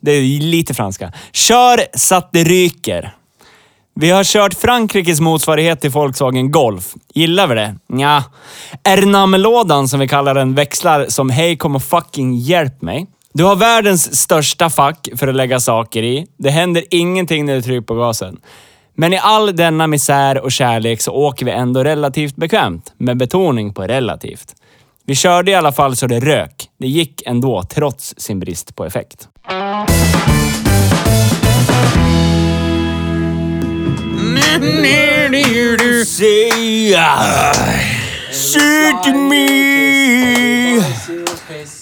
Det är ju lite franska. Kör så att det ryker. Vi har kört Frankrikes motsvarighet till Volkswagen Golf. Gillar vi det? Nja. Ernamelådan som vi kallar den växlar som “Hej kom och fucking hjälp mig”. Du har världens största fack för att lägga saker i. Det händer ingenting när du trycker på gasen. Men i all denna misär och kärlek så åker vi ändå relativt bekvämt, med betoning på relativt. Vi körde i alla fall så det rök. Det gick ändå, trots sin brist på effekt. mm.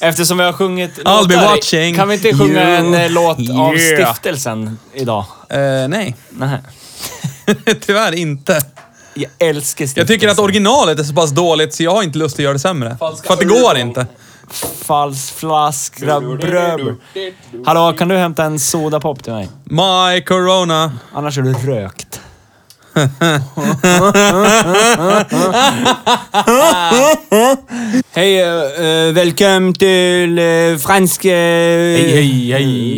Eftersom vi har sjungit I'll be watching kan vi inte sjunga you. en eh, låt av Yeah. stiftelsen idag? Eh, nej, Nej. tyvärr inte. Jag älskar stiftelsen. Jag tycker att originalet är så pass dåligt så jag har inte lust att göra det sämre. För att det går inte. Falsflaskra bröd. Hallå, kan du hämta en sodapop till mig? My corona. Annars är du rökt. hej, uh, välkommen till eh, fransk... hej, hej,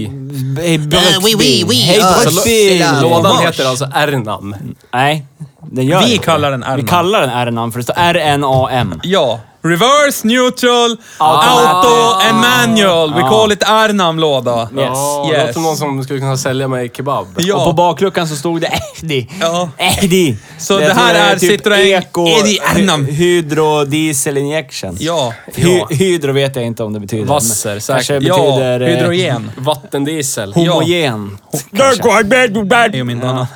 Mm. hej. Hej, Uh, bröstbil. oui, oui, oui. Hej, Ah, bröstbil. så lo- Lådan Mars. heter alltså Ernam. Nej, den gör Vi inte det. kallar den R-nam. Vi kallar den R-nam, för det står R-N-A-M. Ja. Reverse, neutral, Automatic. auto and manual. We Ah. call it R-namnlåda. Yes. Ja, Yes. Det låter som någon som skulle kunna sälja mig kebab. Och på Ja, bakluckan så stod det Ehdi. Ja. Ehdi. Så det här är typ Citroën Ehdi Annam. Hydro Diesel Injection. ja, Hy, hydro vet jag inte om det betyder. Vasser, men säkert. Kanske ja. betyder... eh, Hydrogen. Vattendiesel. Ja. Homogen. Det är ju min dana.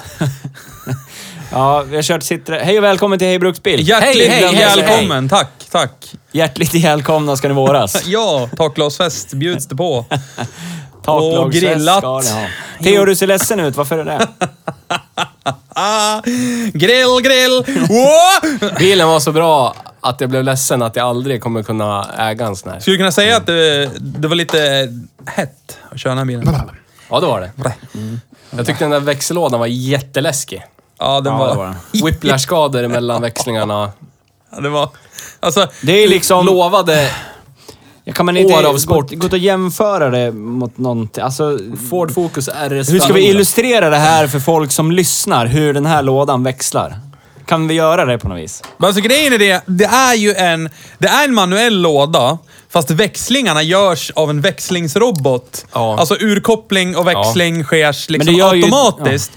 Ja, vi har kört Citroën. Hej och välkommen till Hej Bruksbil. Hjärtligt hej, hej, välkommen. Tack, tack. Hjärtligt välkomna ska ni våras. Ja, taklagsfest bjuds det på. Taklagsfest grillat. ska ni ha. Theo, du ser ledsen ut. Varför är det det? Ah, grill, grill! Wow! Bilen var så bra att jag blev ledsen att jag aldrig kommer kunna äga en sån här. Skulle kunna säga att det, det var lite hett att köra den här bilen. Ja, det var det. Jag tyckte den där växellådan var jätteläskig. Ja, den Ja, det var... var Whiplash-skador mellan växlingarna. Det var... Alltså, Det är liksom... Lovade Jag kan man inte År av sport. Gå, gå och jämföra det mot någonting. Alltså, Ford Focus RS. hur ska vi 500. illustrera det här för folk som lyssnar? Hur den här lådan växlar? Kan vi göra det på något vis? Men alltså grejen är det, det är ju en, det är en manuell låda, fast växlingarna görs av en växlingsrobot. Ja. Alltså urkoppling och växling sker Men det liksom gör ju- automatiskt.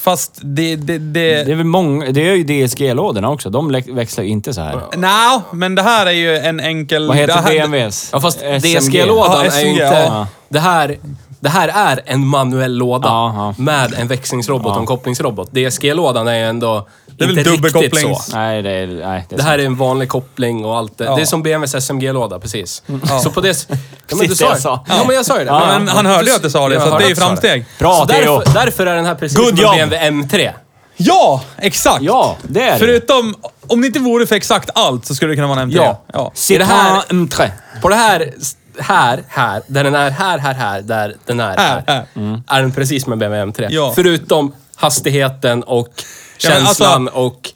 Fast det... det, det, Det är, väl många, det är ju DSG-lådorna också. De lä- växlar ju inte så här. Nja, men det här är ju en enkel... Vad heter det här, BMWs? Ja, fast SMG. DSG-lådan Ja, är ju SMG, inte... ja. Det, här, det här är en manuell låda Ja, ja. med en växlingsrobot och en kopplingsrobot. DSG-lådan är ju ändå är väl inte riktigt så. dubbelkopplings- Nej, det är... Nej, det är Det här är en vanlig koppling och allt det. Det är som BMWs SMG-låda, precis. Så på det... Ja, men Precis du det sa jag det. sa. Ja, men jag sa ju det. Ja, Mm. Men han hörde ju att du sa det, Jag så att hörde det är ju att du sa framsteg. Bra, Så Theo. därför, därför är den här precis Good som job. en BMW M3. Ja, exakt! Ja, det är det. Förutom, om det inte vore för exakt allt så skulle det kunna vara en MT. Ja. ja. Citroën det här- M3. På det här, här, här, där den är, här, här, här, där den Här, är, här, här. Mm. är den precis som en BMW M3. Ja. Förutom hastigheten och Ja, men alltså- känslan och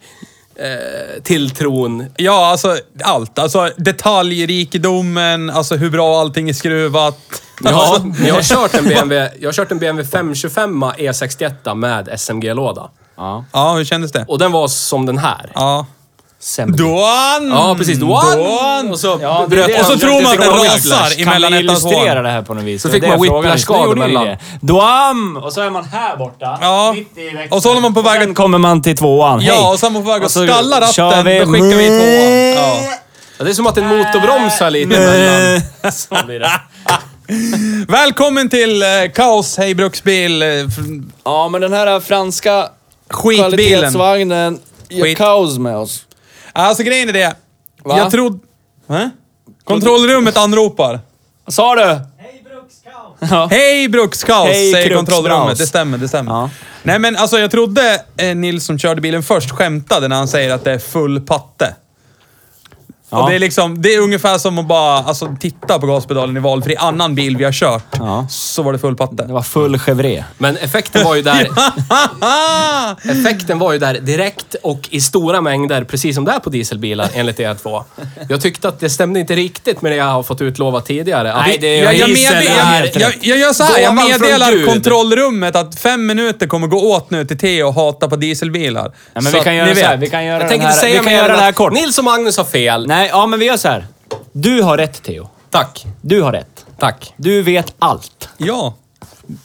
eh, tilltron. Ja, alltså allt. Alltså detaljrikedomen, alltså hur bra allting är skruvat. Alltså, Ja, men jag har kört en BMW, jag har kört en BMW 525 E61 E med SMG-låda. Ja. Ja, hur kändes det? Och den var som den här. Ja. Semla. Duan! Ja, precis. One! Duan! Och så Mm. Ja, det är bröt det. Och så Jag tror man att tycker den om rasar emellan Kan vi ettans illustrera hår. det här på något vis? Så Det fick var man det jag frågade. whiplash-skador Det gjorde ju mellan. det. Duam! Och så är man här borta. Ja. Mitt i växeln. Och så håller man på väg Sen att- kommer man till tvåan. Hej. Ja, och sen på väg att Och så skalla kör ratten, vi. då skickar vi tvåan. Ja. Ja, det är som att en motor bromsar lite emellan. Så blir det. Välkommen till eh, Kaos Hej Bruksbil. eh, fr- Ja, men den här franska Skitbilen. kvalitetsvagnen gör Skit. kaos med oss. Alltså grejen är det. Va? Jag trodde... Va? Kontrollrummet anropar. Sa du? Ja. Hej Brukskaos, Hej, säger Kruxbraus. kontrollrummet. Det stämmer, det stämmer. Ja. Nej men alltså jag trodde eh, Nils som körde bilen först skämtade när han säger att det är full patte. Ja. Och det är liksom, det är ungefär som att bara alltså, titta på gaspedalen i valfri annan bil vi har kört. Ja. Så var det full Det patte. var full chevre. Men effekten var ju där. Ah! Effekten var ju där direkt och i stora mängder, precis som det är på dieselbilar enligt er två. Jag tyckte att det stämde inte riktigt med det jag har fått utlova tidigare. Att Nej, det är- Jag, jag, Diesel meddelar, är jag, rätt. jag, jag gör så här, jag Gåvan från meddelar Gud. kontrollrummet att fem minuter kommer gå åt nu till Theo och hata på dieselbilar. Ja, men Så vi kan att göra ni så här. vet. Vi kan göra jag den tänker här, inte säga vi kan mer göra än den här att kort. Nils och Magnus har fel. Nej, ja men vi gör så här. Du har rätt Theo. Tack. Du har rätt. Tack. Du vet allt. Ja,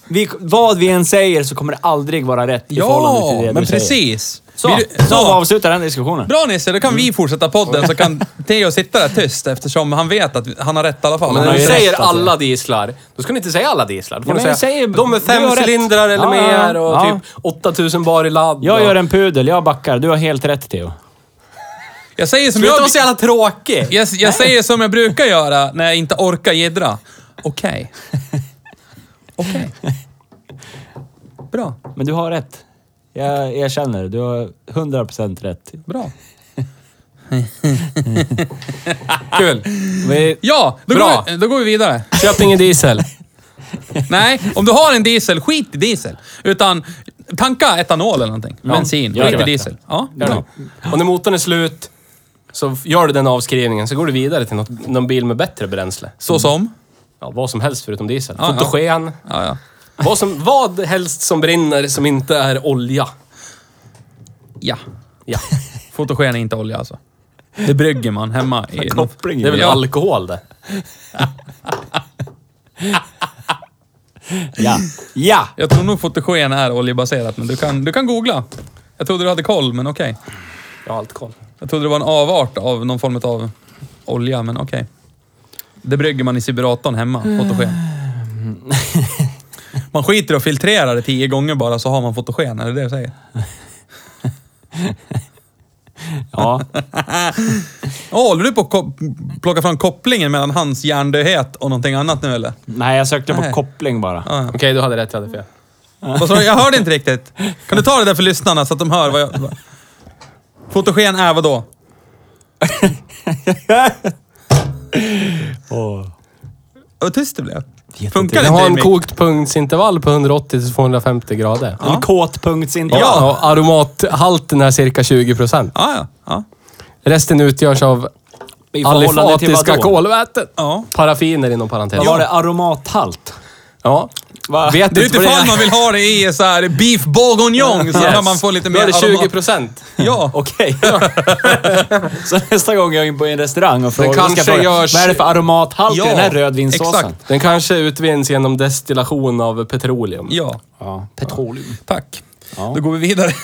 Vi, vad vi än säger så kommer det aldrig vara rätt i förhållande till det ja du men säger. precis. Så, Vi- så. så avslutar den diskussionen. Bra Nisse, då kan vi fortsätta podden så kan Theo sitta där tyst eftersom han vet att han har rätt i alla fall. Men har när du ju säger rätt, alltså. alla dieslar, då ska ni inte säga alla dieslar. Då får Ja, men ni jag säga säger- de med du har fem rätt. cylindrar eller Ja, ja, mer och ja. typ 8000 bar i ladd. Jag och- gör en pudel, jag backar. Du har helt rätt Theo. Jag säger som Sluta jag, vara så jävla tråkig! jag, jag, säger som jag brukar göra när jag inte orkar jiddra. Okej. Okej. Bra, Men du har rätt. Jag erkänner. Du har 100% rätt. bra. Kul. Vi, Ja, då, Bra. Går, vi, då går vi vidare. Köp ingen diesel. Nej, om du har en diesel, skit i diesel. Utan tanka etanol eller någonting. Bensin, gör skit det. i diesel. Ja, Gör bra. det. Och när motorn är slut så gör du den avskrivningen, så går du vidare till något, någon bil med bättre bränsle. Så som? Ja, vad som helst förutom diesel. Ja, ja. Fotogen. Ja, ja. Vad, som, vad helst som brinner som inte är olja. Ja. Ja. Fotogen är inte olja alltså. Det brygger man hemma i... Det är väl Ja. alkohol det. ja. Ja! Jag tror nog fotogen är oljebaserat, men du kan, du kan googla. Jag trodde du hade koll, men okej. Jag har alkohol. Jag trodde det var en avart av någon form av olja, men okej. Det brygger man i sibiratorn hemma, fotogen. Mm. Man skiter och filtrerar det tio gånger bara så har man fotogen, är det det du säger? Ja. Åh, håller du på att ko- plocka fram kopplingen mellan hans hjärndödhet och någonting annat nu eller? Nej, jag sökte på Nej. koppling bara. Okej, du hade rätt, jag hade fel. Vad sa du? Jag hörde inte riktigt. Kan du ta det där för lyssnarna så att de hör vad jag... vad- Fotogen är vad då? Åh. Vad tyst det blev. inte. Funkar Du det har inte i en mick? koktpunktsintervall på 180-250 grader. En kåtpunktsintervall. Ja, och aromathalten är cirka 20 procent. Ja, ja. ja. Resten utgörs av I förhållande till alifatiska vadå? kolväten. Ja. Paraffiner inom parentes. Vad var det? Aromathalt? Ja. Va? Vet Det är ju inte vad fan man vill ha det i så här beef bourguignon så Yes. yes. man får lite Då mer är det 20 aromat. procent. Ja. Okej. så nästa gång jag är in på en restaurang och frågar, kanske ska fråga, görs- vad är det för aromathalt Ja, i den här rödvinssåsen? exakt. Den kanske utvinns genom destillation av petroleum. Ja. Ja, petroleum. Tack. Ja. Då går vi vidare.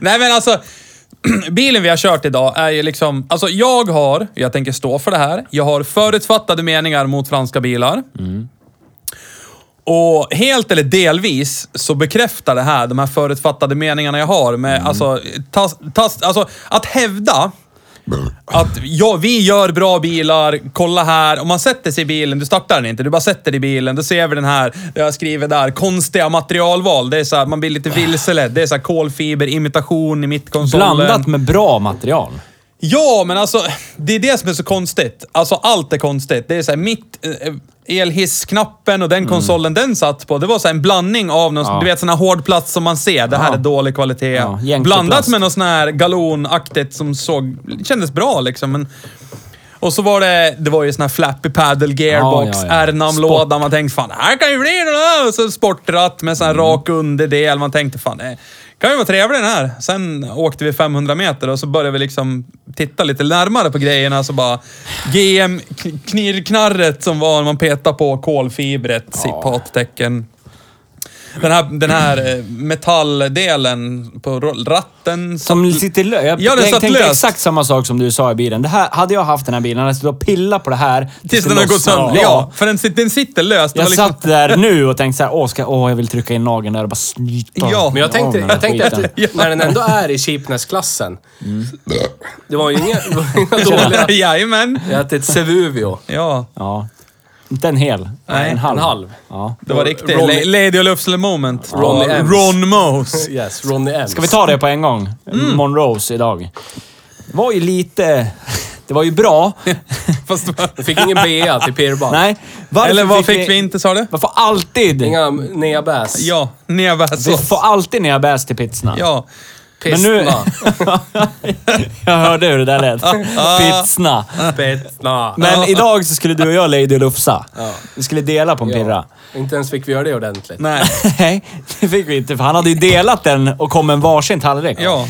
Nej men alltså, bilen vi har kört idag är ju liksom... Alltså jag har, jag tänker stå för det här, jag har förutfattade meningar mot franska bilar. Och helt eller delvis så bekräftar det här, de här förutfattade meningarna jag har med, alltså, tas, tas, alltså, att hävda att ja, vi gör bra bilar, kolla här. Om man sätter sig i bilen, du startar den inte, du bara sätter dig i bilen. Då ser vi den här, det jag skriver där, konstiga materialval. Det är så här, man blir lite vilseledd. Det är så här kolfiber, imitation i mittkonsolen. Blandat med bra material. Ja, men alltså det är det som är så konstigt. Alltså allt är konstigt. Det är så här mitt... Eh, elhissknappen och den konsolen den satt på, det var så här en blandning av någon, Mm. Ja. du vet sån här hård plats som man ser. Det här Ja. är dålig kvalitet. Ja, gänglig Blandat plast. med någon sån här galonaktigt som såg, kändes bra liksom. Men, Och så var det, det var ju sån här flappy paddle gearbox, Ja, ja, ja, ja. R-namnlåda. Man tänkte fan, det här kan ju bli något. Och så sportratt med sån Mm. här rak underdel. Man tänkte fan, det kan ju vara trevlig den här. Sen åkte vi 500 meter och så började vi liksom titta lite närmare på grejerna. Så bara GM, kn- knirrknarret som var när man petade på kolfibret, citattecken. Den här, den här eh, metalldelen på ro- ratten. Som sitter löst. Jag Ja, den tänk- satt tänkte löst. exakt samma sak som du sa i bilen. Det här, hade jag haft den här bilen hade jag suttit och pillat på det här Tills det den har gått lossnade. sönder. Ja, för den sitter, den sitter löst. Det Jag var liksom- satt där nu och tänkte så här, åh, ska, åh jag vill trycka in nageln där och bara snyta. Ja. Men jag tänkte, av den här jag tänkte skiten. Ja. att när den ändå är i cheapness-klassen. Det var ju inga, det var inga dåliga... Jajamän. Jag har ätit Sevuvio. Ja, Ja. Inte en hel. Nej, en halv. en halv. Ja. det var riktigt. Ronny- Ronny... Lady och Lufsel moment. Ronny ja. Ems. Ron Mose. Yes, Ronny Ems. Ska vi ta det på en gång? Mm. Monroes idag. Det var ju lite... Det var ju bra. Fast, Vi fick ingen BA till Pirban. Nej. varför eller vad fick vi inte, sa du? Man får alltid... Inga neabäs. Ja, Vi Nevasås. får alltid när jag bäst till pizzorna. Ja. Men nu... Pistna. jag hörde hur det där lät. Pizzorna. Pistna. Men idag så skulle du och jag Lady Lufsa. Vi skulle dela på en pirra. Ja. Inte ens fick vi göra det ordentligt. Nej. Nej, det fick vi inte. För han hade ju delat den och kom med en varsin tallrik. Ja.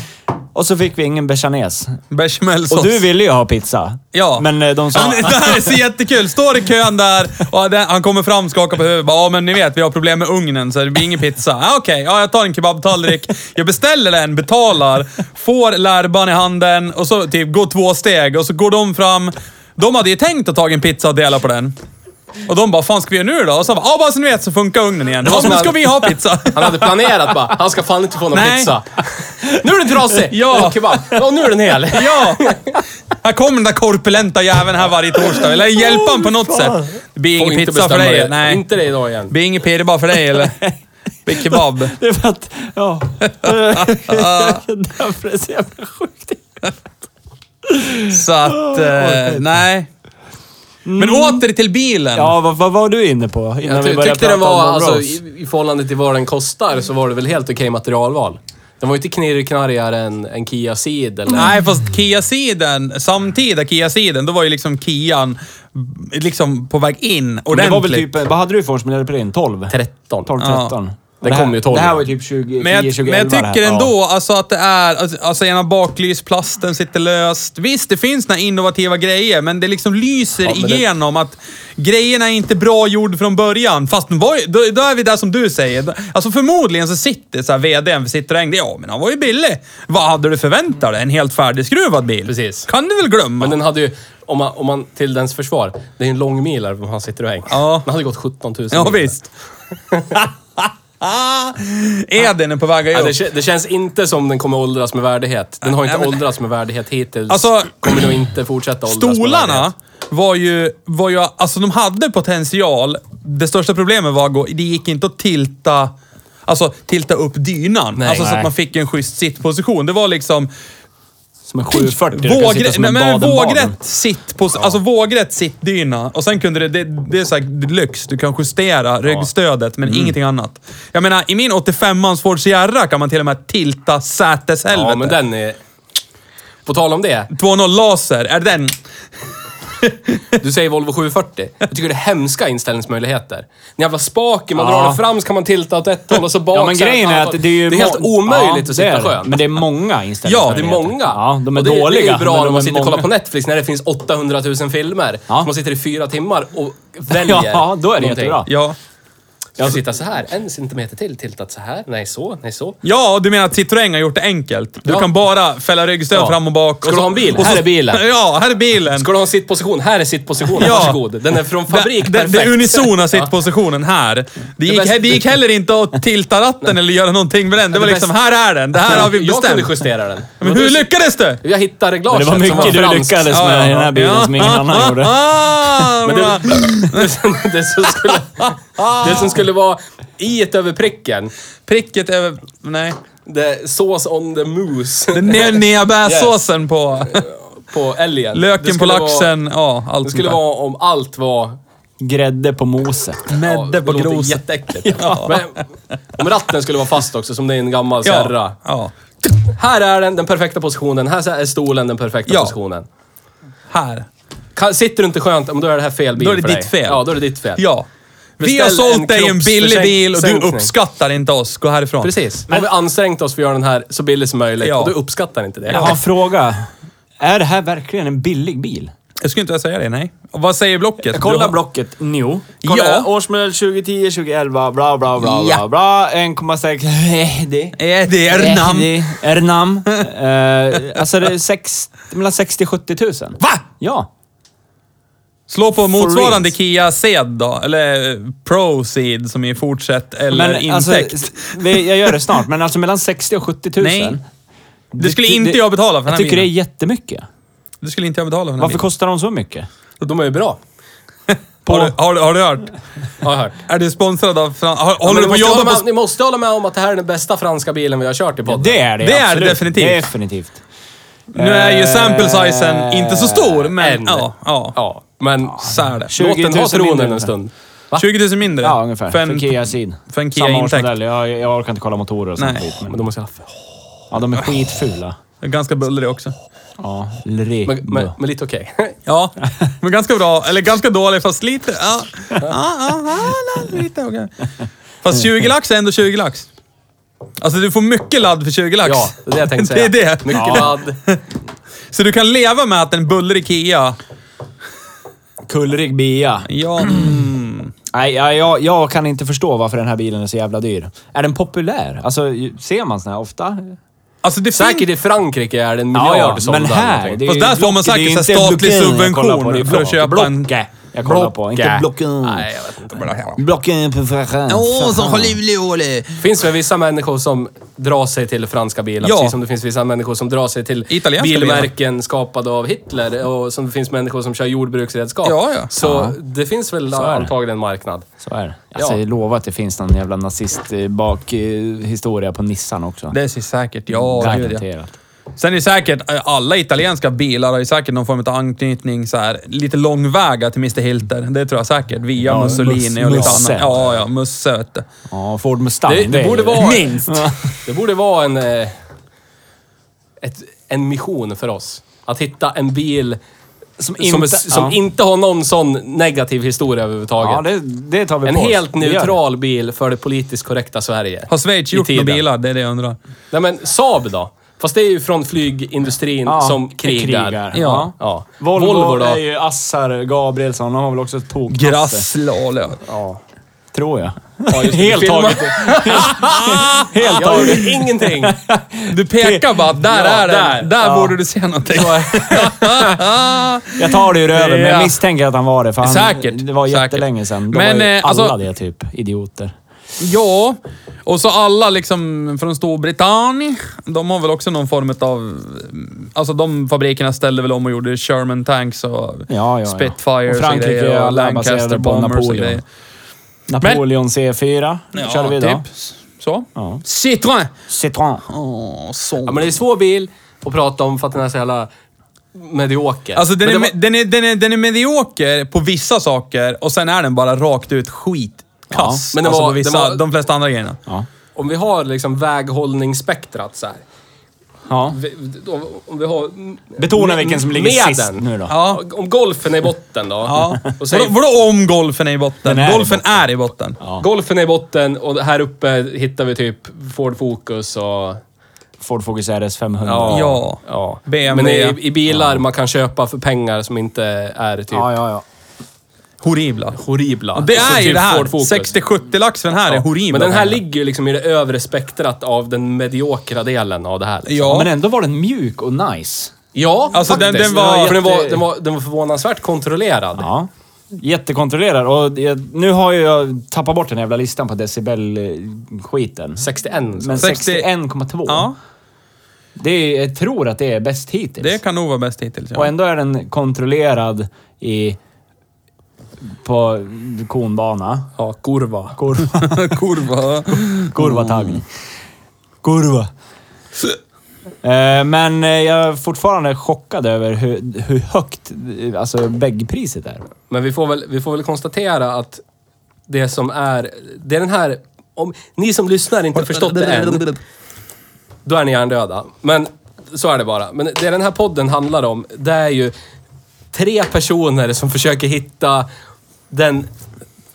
Och så fick vi ingen bechamelsås. Bechamelsås. Och du ville ju ha pizza. Ja. Men eh, de sa... Han, det här är så jättekul. Står i kön där och den, han kommer fram, skakar på huvudet. bara, Ja, men ni vet, vi har problem med ugnen så det blir ingen pizza. Ja, Okej, ja, jag tar en kebabtallrik. Jag beställer den, betalar, får lärban i handen och så typ går två steg och så går de fram. De hade ju tänkt att ta en pizza och dela på den. Och de bara, fan ska vi göra nu då? Och så bara, ja bara så ni vet så funkar ugnen igen. Ja, men ska vi ha pizza. Han hade planerat bara, han ska fan inte få någon Nej. pizza. Nu är den trasig! Ja. Och kebab. Och nu är den hel. Ja! Här kommer den där korpulenta jäveln här varje torsdag. Eller hjälpa han på något sätt. Det blir Får ingen inte pizza för bestämma dig. det. Nej. Inte det idag igen. Det blir inget pirr bara för dig eller? Det blir kebab. Det är för att... Ja. Därför är det så jävla sjukt. Så att, eh, nej. Men åter till bilen. Ja, vad, vad var du inne på innan Jag vi ty- började tyckte prata den var, om alltså, Monroes? i, i förhållande till vad den kostar så var det väl helt okej materialval. Den var ju inte knirrknarrigare än, än Kia Ceed eller... Nej, fast Kia-sidan, samtida Kia-sidan, då var ju liksom Kian liksom på väg in Men ordentligt. Det var väl typ... Vad hade du för årsmodell på din? 12? 13. 12, Ja. 13. Det här- kom ju 12. Det här var ju typ 20, 10, Men jag, 20, men jag 11 det här. tycker Ja. ändå alltså att det är, alltså, alltså ena baklysplasten sitter löst. Visst, det finns några innovativa grejer, men det liksom lyser Ja, men det- igenom att grejerna är inte bra gjord från början. Fast de var, ju- då, då är vi där som du säger. Alltså förmodligen så sitter så här vdn för Citroën, det- ja men han var ju billig. Vad hade du förväntat dig? En helt färdigskruvad bil? Precis. Kan du väl glömma? Men den hade ju, om man, om man till dens försvar, det är ju en lång mil här han sitter och hänger. Ja. Den hade gått 17 000 Ja mil. visst. Eden är på väg Ja, upp. det, kä- det känns inte som den kommer åldras med värdighet. Den har inte Nej, men- åldrats med värdighet hittills. Alltså- kommer nog inte fortsätta åldras med Stolarna värdighet. var ju, var ju... Alltså de hade potential. Det största problemet var att gå- det gick inte att tilta... Alltså tilta upp dynan. Nej. alltså så Nej. att man fick en schysst sittposition. Det var liksom... Som en 740. Du kan sitta Vågrätt, som nej, en men Baden-Baden. vågrätt sitt på, alltså vågrätt sittdyna. Och sen kunde det, det, det är så här lyx. Du kan justera ryggstödet, men Mm. ingenting annat. Jag menar, i min 85ans Ford Sierra kan man till och med tilta säteshelvete. Ja, men den är... På tal om det. 2.0 laser, är det den? Du säger Volvo 740. Jag tycker det är hemska inställningsmöjligheter. Den jävla spaken, man Ja. drar den fram så kan man tilta åt ett håll och så bak. Ja, men så här, grejen är att det är ju... Det är helt må- omöjligt Ja, att sitta det är det. skönt. Men det är många Ja, det inställningsmöjligheter. är många. Ja, de är och det, dåliga. Det är ju men bra de när man är sitter och kollar många. på Netflix när det finns 800 000 filmer. Ja. Så man sitter i fyra timmar och väljer Ja, då är det någonting. jättebra. Ja. Ska jag sitta så här? En centimeter till, tiltat så här. Nej, så. Nej, så. Ja, och du menar att Citroën har gjort det enkelt? Du Ja. kan bara fälla ryggstöd Ja. fram och bak. Ska och du ha en bil? och Här är bilen. Ja, här är bilen. Ska du ha en sittposition? Här är sittpositionen. Ja. Varsågod. Den är från fabrik. det, det, perfekt. det unisona sittpositionen här. Det gick, bästa- det gick heller inte att tilta ratten eller göra någonting med den. Det var det liksom, bästa- här är den. Det här har vi Jag kunde bestämt. justera den. Men hur lyckades du? Jag Men hittade reglaget det var som mycket var du franskt. lyckades med i den här bilen som ingen annan gjorde. Ah, Men bra. det, det, det, som skulle, det som skulle vara i ett över pricken, Pricket över... Nej. det sås on the moose Den ne- neabärsåsen på... på älgen. Det Löken på skulle vara- laxen. Ja, allt Det sånt skulle där. vara om allt var... Grädde på moset. Medde det på låter groset. jätteäckligt. Men om ratten skulle vara fast också, som det är en gammal Serra. Ja, ja. Här är den, den perfekta positionen. Här är stolen, den perfekta Ja. positionen. Här. Kan, sitter du inte skönt, ja, men då är det här fel bil Då är det för ditt dig. fel. Ja, då är det ditt fel. Ja. Vi Beställ har en sålt dig en billig bil och du kroppssänkning. uppskattar inte oss. Gå härifrån. Precis. Men... Har vi ansträngt oss för att göra den här så billig som möjligt Ja. och du uppskattar inte det. Jag har en fråga. Är det här verkligen en billig bil? Jag skulle inte säga det, nej. Och vad säger Blocket? Jag kollar Du har- blocket nu. Ja. Kolla årsmodell 2010, 2011, bla bla bla Ja. bla bla. 1,6. Eh, det- Eh, det är namn. Eh, det är namn. Eh, alltså det är sex, mellan 60 70 000. Va? Ja. Slå på motsvarande reals. Kia Ceed då, eller Pro Seed som är fortsätt eller alltså, intäkt. s- vi- jag gör det snart, men alltså mellan 60 och 70 000. Nej. det skulle inte jag betala för den Jag här tycker det är bilen. jättemycket. Det skulle inte jag betala för den här Varför bilen. kostar de så mycket? Och de är ju bra. Har du, har, du, har du hört? Har jag hört. Är du sponsrad av Fran... har- Ja, Håller men du på ni att måste jobba hålla på... med, Ni måste hålla med om att det här är den bästa franska bilen vi har kört i podden. Det är det Det är det absolut. definitivt. Definitivt. Nu är ju sample sizen inte så stor, men Än. ja. ja. Ja, men Så är det. 20 låt den 000 ha mindre tronen en ungefär. stund. Va? 20 000 mindre. Ja, ungefär. För en- en Kia Ceed. för en Kia Samma intäkt. årsmodell. Jag, jag orkar inte kolla motorer och sånt Nej. skit. Men Men, då måste jag... ja, de är skitfula. Ganska bullrig också. Ja, Lre. Men, men, men lite okej. Ja, men ganska bra. Eller ganska dålig, fast lite... Ja, ja, ja, ja lite okej. Fast 20 lax är ändå 20 lax. Alltså du får mycket ladd för 20 lax. Ja, det är det jag tänkte Det säga. är det. Mycket Ja. ladd. Så du kan leva med att en bullrig Kia... Kullrig bia. Ja, mm, Nej, jag, jag, jag kan inte förstå varför den här bilen är så jävla dyr. Är den populär? Alltså, ju- ser man såna här ofta? alltså det Säkert finns... i Frankrike är det en miljard sålda. men här... någonting. är Fast ju där får man Blocket, säkert så det är ju här inte statlig Blocken jag kollar subvention på, det är för att köpa Blocket. en- Jag kollar på, inte Blocket. Blocken. Nej, jag vet inte. Blocken på Ferrari. Hollywood! finns väl vissa människor som drar sig till franska bilar, Ja. precis som det finns vissa människor som drar sig till Italienska bilmärken skapade av Hitler och som det finns människor som kör jordbruksredskap. Ja, ja. Så det finns väl är det. antagligen en marknad. Så är det. Ja. Alltså, jag lovar att det finns någon jävla nazist-bakhistoria på Nissan också. Det är så säkert, ja. gud, ja. Garanterat. Sen är det säkert, eh, alla italienska bilar har ju säkert någon form av anknytning, så här, lite långväga till Mr Hilter. Det tror jag säkert. Via Ja, Mussolini och lite annat. Musse. Ja, ja, Musse. vet du. Ja, Ford Mustang. Det- det är borde ju- vara- Minst! Det borde vara en, eh, ett, en mission för oss. Att hitta en bil som inte, som, inte- ja. inte har någon sån negativ historia överhuvudtaget. Ja, det, det tar vi en på oss. helt Vi gör det. neutral bil för det politiskt korrekta Sverige. Har Schweiz I gjort några tiden. bilar? Det är det jag undrar. Nej men Saab då? Fast det är ju från flygindustrin Ja, som krigar. krigar. Mm, Ja. Ja. Ja. Volvo, Volvo är då? ju Assar Gabrielsson. De har väl också tok Grasslale. Ja. Tror jag. just det. helt Filma. taget. helt Jag taget. gjorde ingenting. Du pekar bara, att där Ja, är den. Där, där. Ja. borde du se någonting. Jag tar det ur över, men Ja. jag misstänker att han var det. För han, Säkert, Det var säkert. jättelänge sedan. Då Men, var ju eh, alla alltså- det typ. Idioter. ja, och så alla liksom från Storbritannien. De har väl också någon form av... Alltså de fabrikerna ställde väl om och gjorde Sherman Tanks och ja, ja. Spitfires Och Frankrike och, grejer, är och alla baserade Lancaster på Bombers och Napoleon. grejer. Napoleon C4 körde vi idag. typ. Så. Ja. Citroën! Citroën. Åh, så. Ja, men det är en svår bil att prata om för att den är så jävla medioker. Alltså den Men är, det var- me- den, är, den, är, den är medioker på vissa saker och sen är den bara rakt ut skitkass. men men det alltså var- på vissa, det var- de flesta andra grejerna. Ja. Om vi har liksom väghållningsspektrat så här. ja. Vi- om- Om vi har... Betona vilken som ligger Med sist den. nu då. Ja. Om golfen är i botten då. ja. Och säger, Vadå- Vadå om golfen är i botten? Den är i golfen botten. är i botten. Ja. golfen är i botten och här uppe hittar vi typ Ford Focus och... Ford Focus RS 500. Ja. ja. Men BMW. i, i bilar man kan köpa för pengar som inte är typ ja, ja. ja. Horribla. horribla. Det Som är ju typ det här. Ford Focus. 60-70 lax för den här är horribla. Men den här ligger ju liksom i det övre spektrat av den mediokra delen av det här. Liksom. Ja. Men ändå var den mjuk och nice. Ja, Alltså, den- faktiskt. den var- För den, var, jätte- den, var, den var förvånansvärt kontrollerad. Ja. Jättekontrollerad. Och jag, nu har ju jag tappat bort den jävla listan på decibel-skiten. 61. Men 60 61,2. Ja, Det är, jag tror att det är bäst hittills. det kan nog vara bäst hittills. Och Ja. ändå är den kontrollerad i... På konbana. Ja, kurva. Kurva. Kurva. Kurvatagning. Kurva. Eh, Men eh, jag är fortfarande chockad över hur, hur högt eh, alltså, väggpriset är. Men vi får, väl, vi får väl konstatera att det som är... Det är den här... Om ni som lyssnar inte har förstått det än, då är ni hjärndöda. Men så är det bara. Men det den här podden handlar om, det är ju tre personer som försöker hitta den,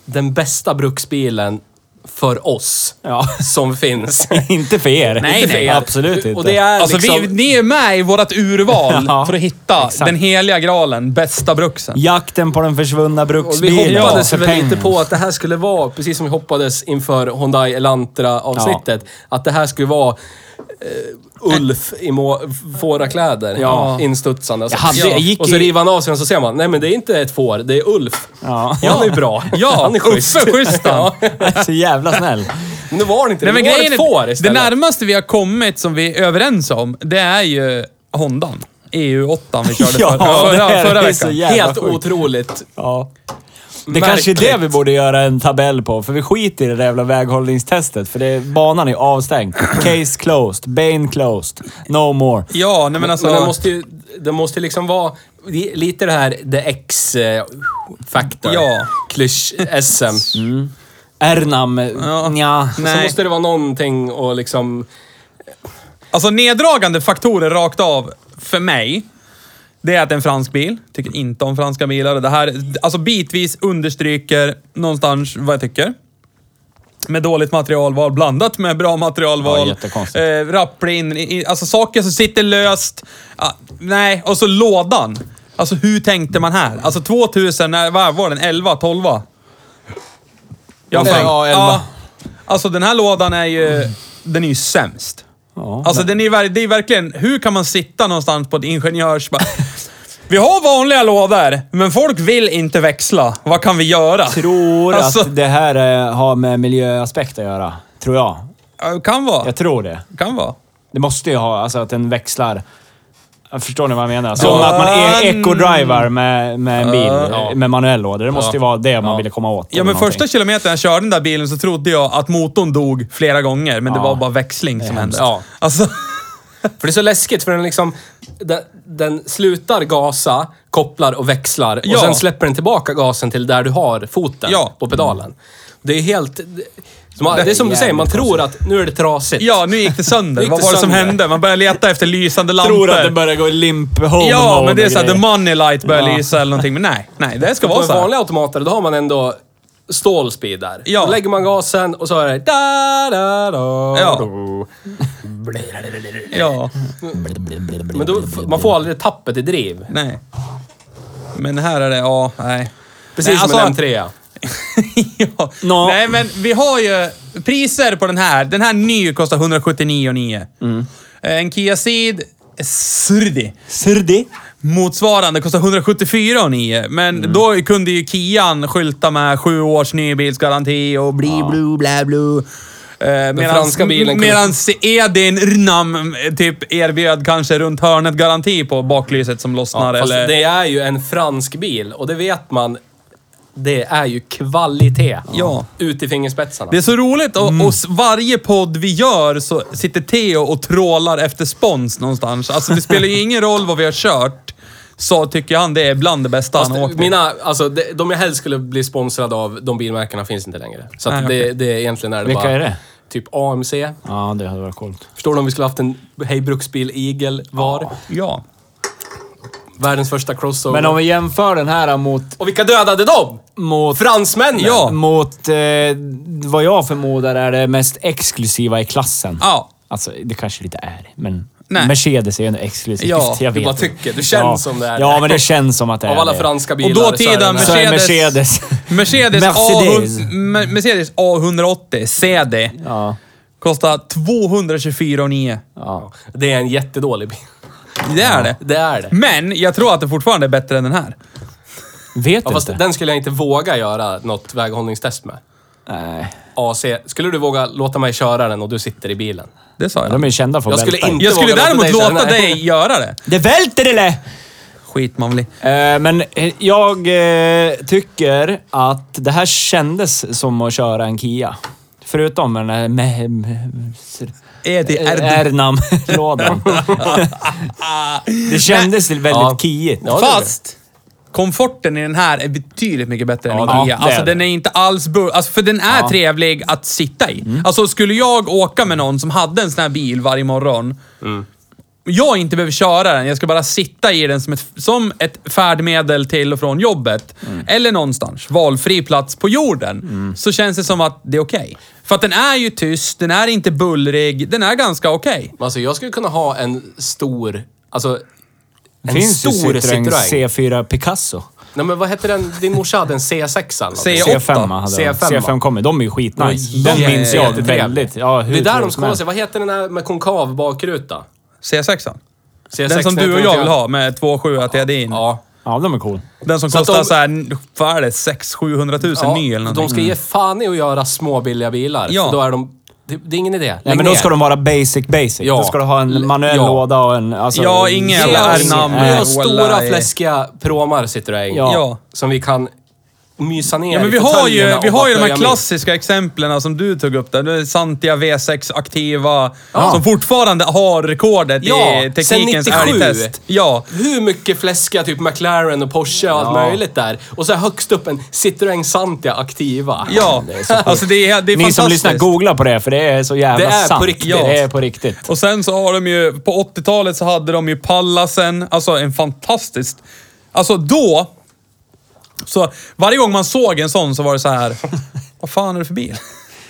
den bästa bruksbilen för oss Ja. som finns. inte för er. Nej, Inte för nej. er. Absolut inte. Och det är Alltså, liksom... vi, ni är med i vårt urval Ja, för att hitta exakt. den heliga graalen, bästa bruksen. Jakten på den försvunna Och vi bruksbilen. hoppades för väl pengar. lite på att det här skulle vara, precis som vi hoppades inför Hyundai Elantra-avsnittet, att det här skulle vara eh, Ulf i må- fårakläder. Ja. Instutsande. Alltså. Jag hade- jag gick och så i- river han av sig den så ser man, nej men det är inte ett får, det är Ulf. Ja. Han är bra. Ja, han är schysst. Uffe, schysst han. Ja. Så jävla snäll. Men nu var det inte det, Nej, men det var grejen ett är, får det istället. närmaste vi har kommit som vi är överens om, det är ju Hondan. EU8 vi körde Ja, för, det förra, här förra är veckan. så jävla Helt sjukt. otroligt. Ja. Det kanske är det vi borde göra en tabell på, för vi skiter i det där jävla väghållningstestet. För det, banan är avstängd. Case closed. Bane closed. No more. Ja, nej men alltså... Men den måste ju, den måste liksom vara li- lite det här the eh, X-faktor. Ja. Mm. Klysch-SM. Ernam, ja. nja. Så nej. måste det vara någonting och liksom... Alltså neddragande faktorer rakt av för mig, det är att det är en fransk bil. Tycker inte om franska bilar. Det här, alltså bitvis understryker någonstans vad jag tycker. Med dåligt materialval blandat med bra materialval. Ja, jättekonstigt. eh, rapplig in, i- alltså saker som sitter löst. Ah, nej, och så lådan. Alltså hur tänkte man här? Alltså 2000, när, vad var den? 11, 12? Jag har Ja, fan- elva. Alltså den här lådan är ju, den är ju sämst. Ja. Alltså den är, ver- det är verkligen, hur kan man sitta någonstans på ett ingenjörs... bara, Vi har vanliga lådor, men folk vill inte växla. Vad kan vi göra? tror Alltså- att det här eh, har med miljöaspekt att göra. Tror jag. Ja, Kan vara. Jag tror det. Kan vara. Det måste ju ha, alltså att den växlar. Förstår ni vad jag menar? Som Ja. att man är eco-driver med, med en bil, eh, med manuell låda. Det måste ju vara det man ville komma åt. Ja, eller men någonting. första kilometern jag körde den där bilen så trodde jag att motorn dog flera gånger, men det Ja. var bara växling som hände. hemskt. Ja. Alltså, För det är så läskigt för den liksom... Den, den slutar gasa, kopplar och växlar Ja. och sen släpper den tillbaka gasen till där du har foten Ja. på pedalen. Det är helt... det- som- det är som du jävligt säger, man tror att nu är det trasigt. ja, nu gick det sönder. Gick Vad det var det som sönder? hände? Man började leta efter lysande lampor. tror att det börjar gå limp home Ja, mode men det är och såhär, the grejer. money light börjar Ja. lysa eller någonting. Men nej, nej, det ska På vara en så. här. vanlig automater, då har man ändå stålspeed där. Ja. Då lägger man gasen och så är det... Da, da, da, Ja. do. Ja, Men då, f- man får aldrig tappet i driv. nej. Men här är det, ja, nej. Precis Nej, som en alltså- M3. ja. Nå. Nej, men vi har ju priser på den här. Den här ny kostar 179,9. Mm. Eh, En Kia Ceed Surdi Surdi. motsvarande kostar 174,9. Men Mm. då kunde ju Kian skylta med sju års nybilsgaranti och bli blu bla Eh, blu. Den franska bilen kunde- Medan Edin Rnam eh, typ erbjöd kanske runt hörnet garanti på baklyset som lossnar. Ja, fast eller... det är ju en fransk bil och det vet man. Det är ju kvalitet. Ja. Ut i fingerspetsarna. Det är så roligt och, och s- varje podd vi gör så sitter Theo och trålar efter spons någonstans. Alltså det spelar ju ingen roll vad vi har kört, så tycker han det är bland det bästa Fast han har åkt med. mina, alltså, de, de jag helst skulle bli sponsrad av, de bilmärkena finns inte längre. Så att Nej, det, det är egentligen är det Vilka bara, är det? Typ AMC. Ja, det hade varit coolt. Förstår du om vi skulle haft en Hej Bruksbil Eagle var? Ja. Världens första crossover. Men om vi jämför den här mot... Och vilka dödade dem? mot Fransmännen! Ja. Mot eh, vad jag förmodar är det mest exklusiva i klassen. Ja. Alltså, det kanske inte är, men... Nej. Mercedes är ju ändå exklusivt. Ja, jag du vet bara inte. tycker. Du känner som det är. Ja, men det känns som att det är Av alla det. franska Och bilar så är dåtida det Så den här. är Mercedes... Mercedes. Mercedes, Mercedes. A, Me- Mercedes A180 CD. Ja. Kostar 224,9. ja. Det är en jättedålig bil. Det är det. Det är det. Men jag tror att det fortfarande är bättre än den här. Vet Ja, fast inte. den skulle jag inte våga göra något väghållningstest med. Nej. AC. Skulle du våga låta mig köra den och du sitter i bilen? Det sa jag. De är kända för att Jag skulle välta. inte- Jag skulle vågar låta däremot dig säga låta nej. dig göra det. Det välter eller? Skit man väl i. Eh, men eh, jag eh, tycker att det här kändes som att köra en Kia. Förutom den här... eh, Med, med, Är det, är det. Ernam-lådan. Ah. det kändes väldigt Ja. kiigt. Ja, det är Fast komforten i den här är betydligt mycket bättre än Ja, en det Kia. är det. Alltså den är inte alls... Bu- alltså, för den är trevlig att sitta i. Alltså skulle jag åka med någon som hade en sån här bil varje morgon jag inte behöver köra den. Jag ska bara sitta i den som ett, som ett färdmedel till och från jobbet. Eller någonstans. Valfri plats på jorden. Så känns det som att det är okej. För att den är ju tyst, den är inte bullrig, den är ganska okej. Alltså jag skulle kunna ha en stor... Alltså... En Finns ju stor Citroën Citroën. C4 Picasso. Nej men vad hette den? Din morsa hade en alltså. C6 eller C- någonting. Åtta. C5 hade de. C5. C5 kommer. De är ju skitnice. De jätte- minns jag jättetrevliga. väldigt. Ja, hur Det är där de trevligt ska som hålla helst. sig. Vad heter den här med konkav bakruta? C6. C6, Den som heter du och den jag till- vill ha Mm. med 2,7 TDI'n. Ja. Ja, de är cool. Den som Så att kostar de- så här, vad är det, 600 000 ja. ny eller någonting. De ska ge fan i att göra små billiga bilar. Ja. Ja. Då är de... Det, det är ingen idé. Lägg Nej, men då ner. ska de vara basic basic. Ja. Då ska du ha en manuell Ja. låda och en... Alltså, Ja, inga Ge jävla oss, R-namn. ge oss Nej, stora wallah. fläskiga pråmar Citroën. Ja. Ja. Som vi kan mysa ner Ja, men i vi har ju, fåtöljerna vi och har ju bara de här plöja med. klassiska exemplen som du tog upp där. Det är Santia V6 aktiva, som fortfarande har rekordet Ja, i sen teknikens 97. älgtest. Ja, Hur mycket fläska typ McLaren och Porsche och allt möjligt där. Och så här högst upp en Citroën Santia Activa. ja. alltså det är, det är Ni som fantastiskt. lyssnar, googla på det för det är så jävla Det är på sant. riktigt. Det är på riktigt. Och sen så har de ju, på 80-talet så hade de ju Pallasen, alltså en fantastisk... Alltså då, så varje gång man såg en sån så var det så här. vad fan är det för bil?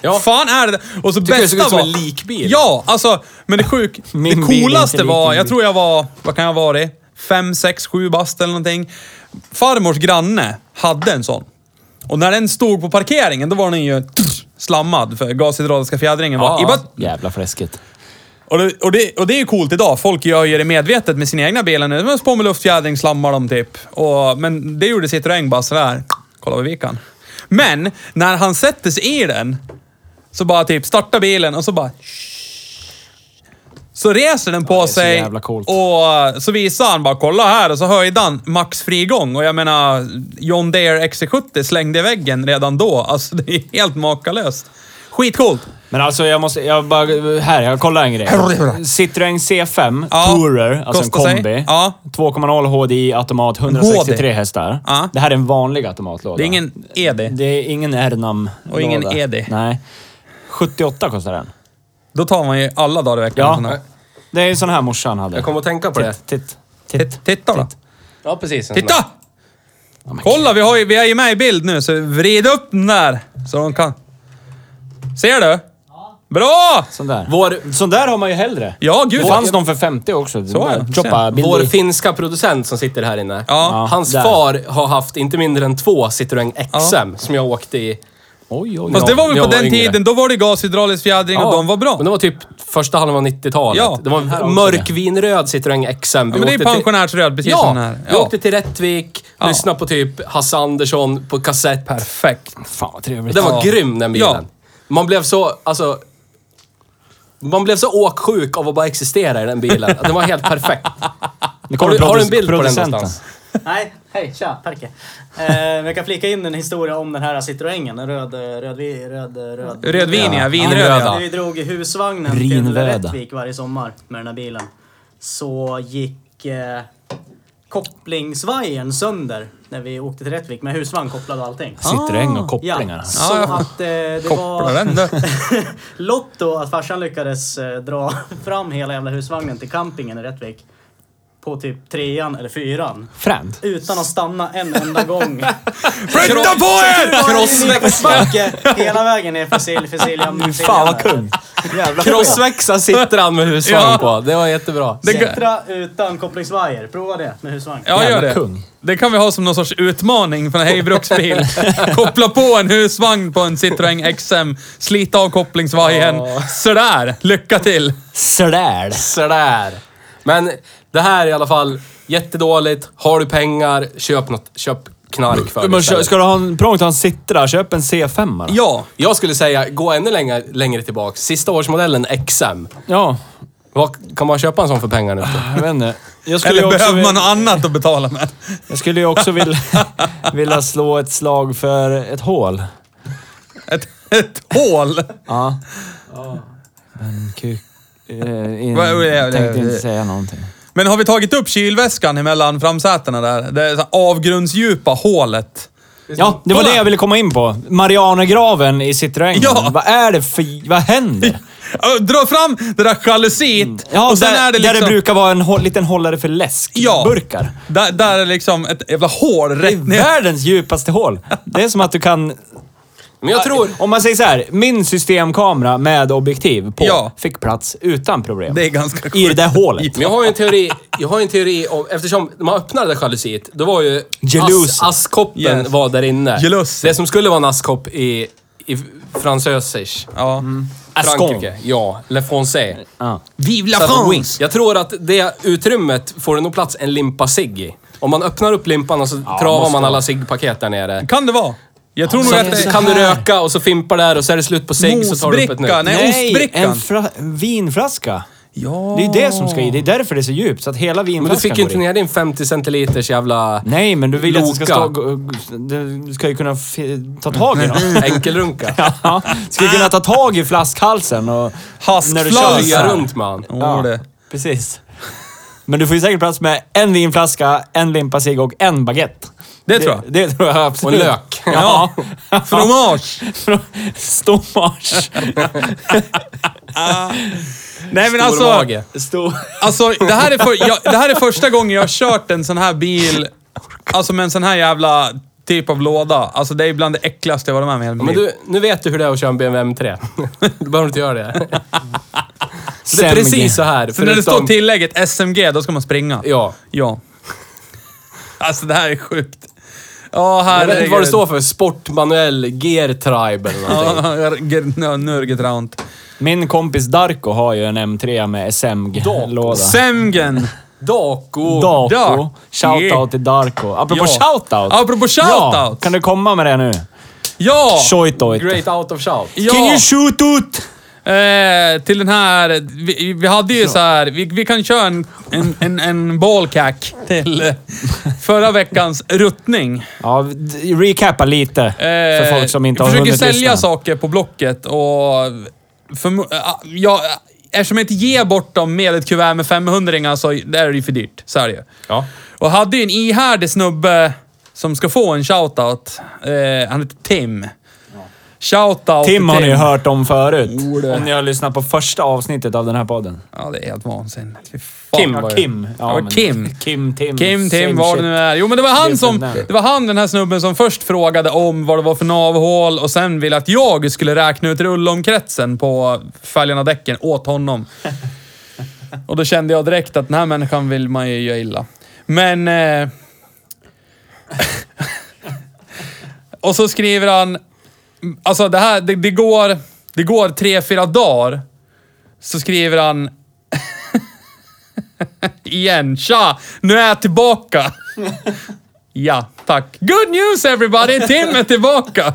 Ja. fan är det? Och så Tycker det bästa såg ut som var... en likbil. Ja, alltså, men det sjuk... det Min bil är coolaste inte lik var, din jag bil. tror jag var, vad kan jag ha varit? Fem, sex, sju bast eller någonting. Farmors granne hade en sån. Och när den stod på parkeringen, då var den ju slammad för gashydrauliska fjädringen var Ja. i botten. Jävla fläskigt. Och det, och, det, och det är ju coolt idag. Folk gör ju det medvetet med sina egna bilar nu. De spår med luftfjädring, slammar dem typ. Och, men det gjorde Citroën bara sådär. Kolla vad vi kan. Men när han sätter sig i den så bara typ startar bilen och så bara... Så reser den på är så sig jävla coolt. och eh, så visar han bara kolla här och så höjde han max frigång. Och jag menar, John Deere XC70 slängde i väggen redan då. Alltså det är helt makalöst. Skitcoolt! Men alltså jag måste, jag bara, här, jag kollar en grej. Citroën C5 Ja. Tourer, alltså en Kostar sig. kombi. Ja. 2,0 HDI automat, 163 HD. hästar. Ja. Det här är en vanlig automatlåda. Det är ingen E ED. Det är ingen R-namn-låda. Och ingen E ED. Nej. 78 kostar den. Då tar man ju alla dagar i veckan. en sån Ja. här. Det är ju sån här morsan hade. Jag kommer att tänka på det. Titt, titt, Titt- titt. Titta då. Ja, precis. en sån Titta! Kolla, vi, har ju, vi är ju med i bild nu, så vrid upp den där. Så de kan... Ser du? Bra! Sån där. Vår- sån där har man ju hellre. Ja, gud. Det fanns någon för 50 också. Så, ja. Choppa där. Vår billig. finska producent som sitter här inne. Ja. Hans där. far har haft inte mindre än två Citroën XM som jag åkte i. Oj, oj, Fast oj. Alltså, det var väl jag på var den yngre. tiden, då var det gashydraulisk fjädring och de var bra. Men det var typ första halvan av 90-talet. Ja. Det var Den här en också. mörkvinröd Citroën XM. Vi men det är åkte pensionärsröd, precis ja, som den här. vi Ja. åkte till Rättvik, lyssnade på typ Hasse Andersson på kassett. Perfekt. Fan vad trevligt. Den var Ja. grym den bilen. Ja. Man blev så, alltså... Man blev så åksjuk av att bara existera i den bilen. Den var helt perfekt. Nu Har kommer du, har du en produc- bild på den producenten. någonstans? Nej, hej, tja, Perke. Eh, jag kan flika in en historia om den här Citroengen, den röd, eh, röd, röd, röd, röd, Rödviniga, vinröda. röda. När vi drog i husvagnen till Brinröda. Rättvik varje sommar med den här bilen så gick eh, kopplingsvajern sönder när vi åkte till Rättvik med husvagn kopplad och allting. Citroën och Ja, kopplingarna. så Ah, Ja, jag- att eh, det Koppla var den där. lotto att farsan lyckades eh, dra fram hela jävla husvagnen till campingen i Rättvik på typ trean eller fyran. Fränt. Utan att stanna en enda gång. Flytta på er! Crossväxtbacke hela vägen ner för Sil, för Silja. Mm, Fan vad kung. Jävla Crossväxan sitter han med husvagn Ja. på. Det var jättebra. Det- Citra utan kopplingsvajer. Prova det med husvagn. Ja, gör Jävla det. kung. Det kan vi ha som någon sorts utmaning för en hejbruksbil. Koppla på en husvagn på en Citroën XM, slita av kopplingsvajern. Sådär, lycka till! Sådär. Sådär. Men det här är i alla fall jättedåligt. Har du pengar, köp något. Köp knark för Men dig kö- istället. ska du ha en prång till en Citra, köp en C5 då. Ja, Jag skulle säga, gå ännu längre, längre tillbaka. Sista årsmodellen XM. Ja, Vad, kan man köpa en sån för pengar nu? jag vet inte. Jag skulle eller ju också behöver vil- man något annat att betala med? Jag skulle ju också vilja, vilja slå ett slag för ett hål. Ett, ett hål? Ja. Men kuk... Eh, in, Vad- vad- vad- tänkte inte vad- säga någonting. Men har vi tagit upp kylväskan emellan framsätena där? Det är så här avgrundsdjupa hålet. Ja, det var Kolla! det jag ville komma in på. Marianergraven i Citroën. Ja! Vad är det för... Vad händer? Ö, Dra fram det där jalusiet Ja, och sen där, är det där det liksom... brukar vara en hå- liten hållare för läskburkar. Där, där är liksom ett jävla hål Det är rätt ner. världens djupaste hål. Det är som att du kan... Men jag tror... Om man säger så här, min systemkamera med objektiv på Ja. fick plats utan problem. Det är ganska sjukt. I det där hålet. Men jag har ju en teori, jag har ju en teori om, eftersom när man öppnade det där jalusiet, då var ju Jalusi. ask, askkoppen Yes. var där inne. Jalusi. Det som skulle vara en askkopp i, i fransösisch. Ja. Äh, Frankrike. Ja, Le Français. Ja. Vive Så att- Jag tror att det utrymmet får det nog plats en limpa cigg i. Om man öppnar upp limpan och så travar måste man vara. alla ciggpaket där nere. Kan det vara? Jag tror nog Så att det att, kan du röka och så fimpar där och så är det slut på cigg så tar du upp ett Mosbricka, nytt. nej. ostbrickan. en fra- vinflaska. Ja. Det är ju det som ska i. Det är därför det är så djupt, så att hela Men du vinflaskan fick ju inte går i. ner din 50 centiliters jävla Nej, men du vill ju att det ska Loka. stå... g- g- Du ska ju kunna f- ta tag i Mm. dem. enkelrunka. Ja, ska ju kunna ta tag i flaskhalsen och... när du kör. Haskflöja. Flyga runt man. Ja, det. precis. Men du får ju säkert plats med en vinflaska, en limpa cigg och en baguette. Det tror jag. Det, det tror jag absolut. Och lök. Ja. Fromage. Stommars. Nej men alltså. mage. Stor... Alltså, det här, är för, jag, det här är första gången jag har kört en sån här bil, alltså med en sån här jävla typ av låda. Alltså det är bland det äckligaste jag varit med om i hela mitt Men liv. du, nu vet du hur det är att köra en BMW M3. Du behöver inte göra det. Det Sämre. är precis så här. Så när det förutom- står tillägget SMG, då ska man springa? Ja. Ja. Alltså det här är sjukt. Ja, Jag herregud. vet inte vad det står för. Sportmanuell Gear Tribe eller någonting. Ja, Nörgetraund. Min kompis Darko har ju en M3 med SMG-låda. Semgen! Dako. Darko. Dark. Shoutout till Darko. Ja. Apropå shoutout. Apropå Ja, shoutout! kan du komma med det nu? Ja! Shoutout. Great out of shout. ja. Can you shoot out? Eh, till den här... Vi, vi hade ju så här... Vi, vi kan köra en, en, en, en ballcack till eh, förra veckans ruttning. Eh, Ja, d- recappa lite. för folk som inte har försöker hunnit sälja lyssna. saker på Blocket och... För, ja, jag, eftersom jag inte ger bort dem med ett kuvert med 500 så där är det ju för dyrt. Så är det ju. Ja. Och hade ju en ihärdig snubbe som ska få en shoutout. Eh, han heter Tim. Shoutout till Tim har ni ju hört om förut. Om ni har lyssnat på första avsnittet av den här podden. Ja, det är helt vansinnigt. Fy fan. Kim Ja, var det. Kim. Ja, Ja, men- Kim. Kim, Tim. Kim, same Tim, vad shit. det nu är. Jo, men det var han Different som... now. Det var han, den här snubben, som först frågade om vad det var för navhål och sen ville att jag skulle räkna ut rullomkretsen på fälgarna och däcken åt honom. och då kände jag direkt att den här människan vill man ju göra illa. Men... Eh, och så skriver han... Alltså det här, det, det går... Det går tre, fyra dagar. Så skriver han... igen. Tja! Nu är jag tillbaka! ja, tack. Good news everybody! Tim är tillbaka!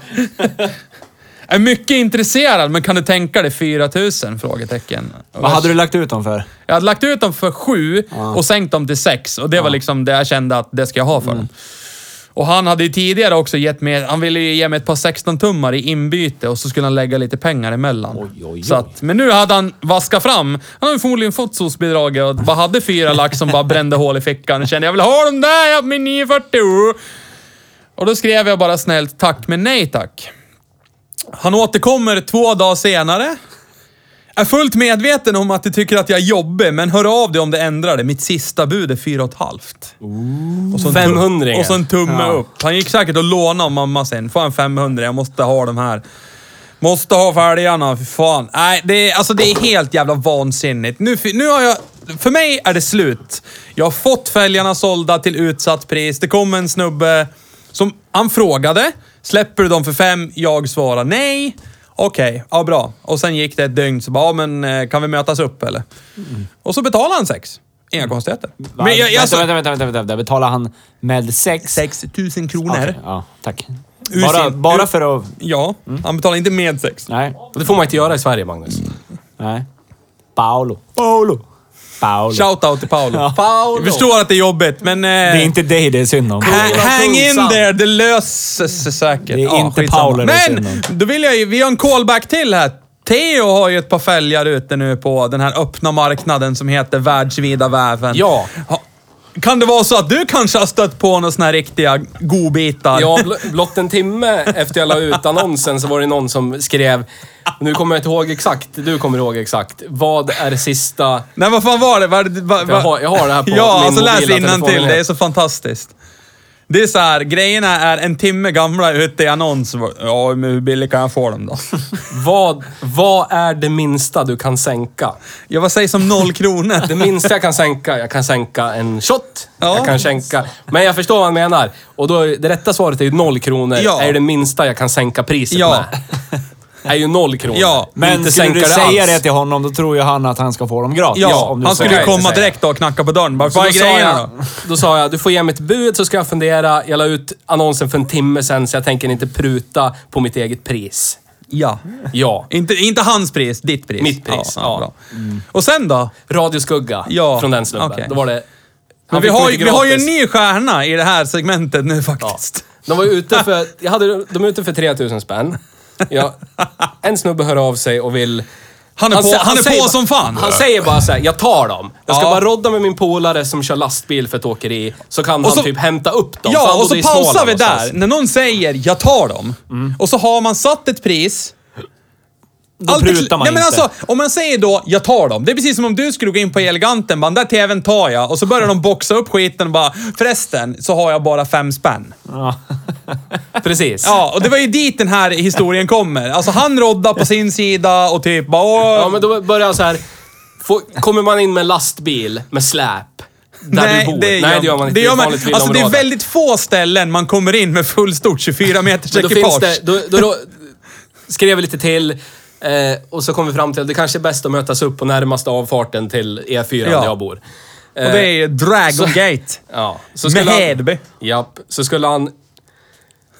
är mycket intresserad, men kan du tänka dig 4000? Frågetecken. Vad hade du lagt ut dem för? Jag hade lagt ut dem för sju och sänkt dem till sex. Och det var liksom det jag kände att det ska jag ha Mm. för dem. Och han hade ju tidigare också gett mig, han ville ju ge mig ett par 16-tummar i inbyte och så skulle han lägga lite pengar emellan. oj, oj. Så att, men nu hade han vaskat fram, han hade förmodligen fått SOS-bidraget och bara hade fyra lax som bara brände hål i fickan. Och kände jag vill ha dem där, jag har min 940. Och då skrev jag bara snällt tack men nej tack. Han återkommer två dagar senare. Är fullt medveten om att du tycker att jag är jobbig, men hör av dig om det ändrar det. Mitt sista bud är fyra och ett halvt. Och så en 500 tum- igen. Och så en tumme upp. Han gick säkert och lånade av mamma sen. Får en 500, jag måste ha de här. Måste ha fälgarna, för fan. Nej, det är, alltså det är helt jävla vansinnigt. Nu, fi- nu har jag... För mig är det slut. Jag har fått fälgarna sålda till utsatt pris. Det kom en snubbe som... Han frågade. Släpper du dem för fem? Jag svarar nej. Okej, ja bra. Och sen gick det ett dygn så bara, ja, men eh, kan vi mötas upp eller? Och så betalade han sex. Mm. Inga konstigheter. Va? Men jag, jag, vänta, alltså, vänta, vänta, vänta, vänta. Betalar han med sex? 6 000 kronor. Okej, Ja, tack. Ur Bara, sin- bara ur- för att... Ja, han betalar inte med sex. Nej. Mm. Det får man inte göra i Sverige, Magnus. Nej. Paolo. Paolo. Paolo. Shoutout till Paolo. Ja. Jag förstår att det är jobbigt, men... Eh, Det är inte dig det är synd om. ha- hang in Kungsan. there, det löser sig säkert. Det är inte Paolo det är Men, synd då vill jag ju... Vi har en callback till här. Theo har ju ett par fälgar ute nu på den här öppna marknaden som heter Världsvida Väven. Ja. Ha, Kan det vara så att du kanske har stött på några såna här riktiga godbitar? Ja, bl- blott en timme efter jag la ut annonsen så var det någon som skrev, nu kommer jag inte ihåg exakt, du kommer ihåg exakt, vad är sista... Nej, vad fan var det? Var det va, va? Jag har, jag har det här på ja, min alltså läs mobila innantill. telefon. Det är så fantastiskt. Det är så här, grejerna är en timme gamla ute i annons. Ja, men hur billigt kan jag få dem då? Vad, vad är det minsta du kan sänka? Ja, vad sägs om noll kronor? Det minsta jag kan sänka, jag kan sänka en shot. Ja. Jag kan sänka... Men jag förstår vad han menar. Och då, är- det rätta svaret är ju noll kronor. Ja. Är ju det minsta jag kan sänka priset Ja. med. Är ju noll kronor. Ja, Men inte skulle sänka du det säga alls. det till honom, då tror ju han att han ska få dem gratis. Ja, om du han säger skulle ju det. komma Säger. direkt då och knacka på dörren. Bara, Så vad är då sa grejerna jag, då? då sa jag, du får ge mig ett bud så ska jag fundera. Jag la ut annonsen för en timme sen så jag tänker inte pruta på mitt eget pris. Ja. Ja. Inte, inte hans pris, ditt pris. Mitt pris, ja. Mm. bra. Och sen då? Radioskugga Ja, från den snubben. okej. Då var det... Men han vi fick har, dem ju- inte vi har ju en gratis. ny stjärna i det här segmentet nu Ja. faktiskt. De var ju ute för, jag hade, de är ute för 3000 spänn. Ja, en snubbe hör av sig och vill... Han är på- sä- han är på säger, bara- som fan. Han säger bara så här, jag tar dem. Jag ska Ja. bara rodda med min polare som kör lastbil för ett åkeri. Så kan Och han så- typ hämta upp dem. för Ja, han och så bodde i pausar Småland vi där. någonstans. När någon säger “jag tar dem” och så har man satt ett pris. Då Allt är kl- prutar man Nej, men inte. alltså, om man säger då “jag tar dem”, det är precis som om du skulle gå in på Eleganten, bara “den där TVn tar jag” och så börjar de boxa upp skiten och bara “förresten, så har jag bara fem spänn”. Precis. Ja, och det var ju dit den här historien kommer. Alltså han roddar på sin sida och typ bara “åh, Ja, men då börjar jag så här. Får, kommer man in med en lastbil med släp där du bor? Nej, det gör man inte. Det, gör man, ett vanligt alltså, det är villaområde. väldigt få ställen man kommer in med fullstort 24 meters Men då finns ekipage. det, då, då, då skrev vi lite till eh, och så kom vi fram till att det kanske är bäst att mötas upp på närmaste avfarten till E4 Ja. där jag bor. Och det eh, är Dragon Gate. Ja. Så Med skulle han, Hedby. Japp. Så skulle han...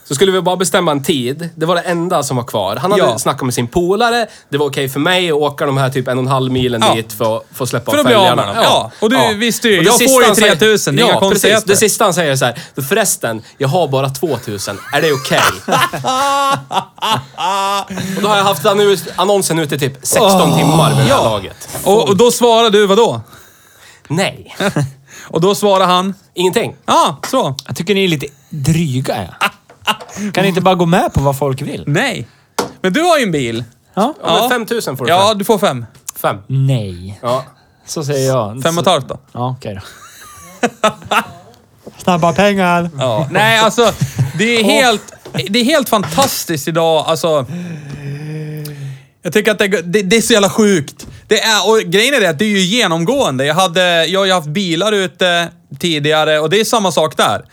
Så skulle vi bara bestämma en tid. Det var det enda som var kvar. Han hade Ja. snackat med sin polare. Det var okej för mig att åka de här typ en och en halv milen Ja. dit för att få släppa För av att bli av med fälgarna. dem. Ja. Och du visste ju, Och det jag sista får ju han säger- 3000, det är inga Ja, precis. konstigheter. Det sista han säger så här. "Du, Förresten, jag har bara 2000. Är det okej? och då har jag haft annu- annonsen ute typ 16 Ah. timmar vid det här laget. Och, och då svarar du vadå? Nej, Och då svarar han? ingenting. Ja, ah, så. Jag tycker ni är lite dryga. Ja. Kan ni inte bara gå med på vad folk vill? Nej. Men du har ju en bil. Ja? Ja, men 5000 får du Ja, för. du får fem. Fem. Nej. Ja. Så säger jag. Fem och ett Så- halvt då. Ja, okej då. Snabba pengar! Ja. Nej, alltså det är helt, det är helt fantastiskt idag. Alltså, jag tycker att det, det, det är så jävla sjukt. Det är, och grejen är det att det är ju genomgående. Jag, hade, jag har ju haft bilar ute tidigare och det är samma sak där.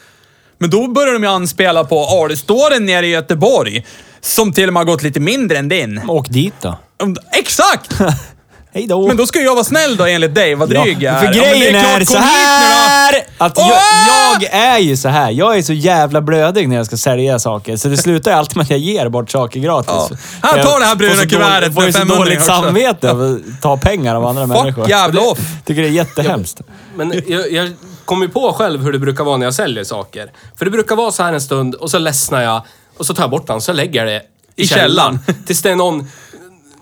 Men då börjar de ju anspela på, ja det står en nere i Göteborg som till och med har gått lite mindre än din. Åk dit då. Exakt! Hej då! Men då ska jag vara snäll då enligt dig, vad dryg jag är. För Ja, men det grejen klart, är kom så hit nu här då. att Åh! jag, jag är ju så här. Jag är så jävla blödig när jag ska sälja saker. Så det slutar ju alltid med att jag ger bort saker gratis. Ja. För Här, jag ta det här bruna får så kuvertet dåligt- får ju med så 500 dåligt också. samvete av att ta pengar av andra människor. Fuck jävla off. Tycker det är jättehemskt. Men jag, jag kom ju på själv hur det brukar vara när jag säljer saker. För det brukar vara så här en stund och så ledsnar jag och så tar jag bort den så lägger jag det i, I källaren. källaren. Tills det är någon,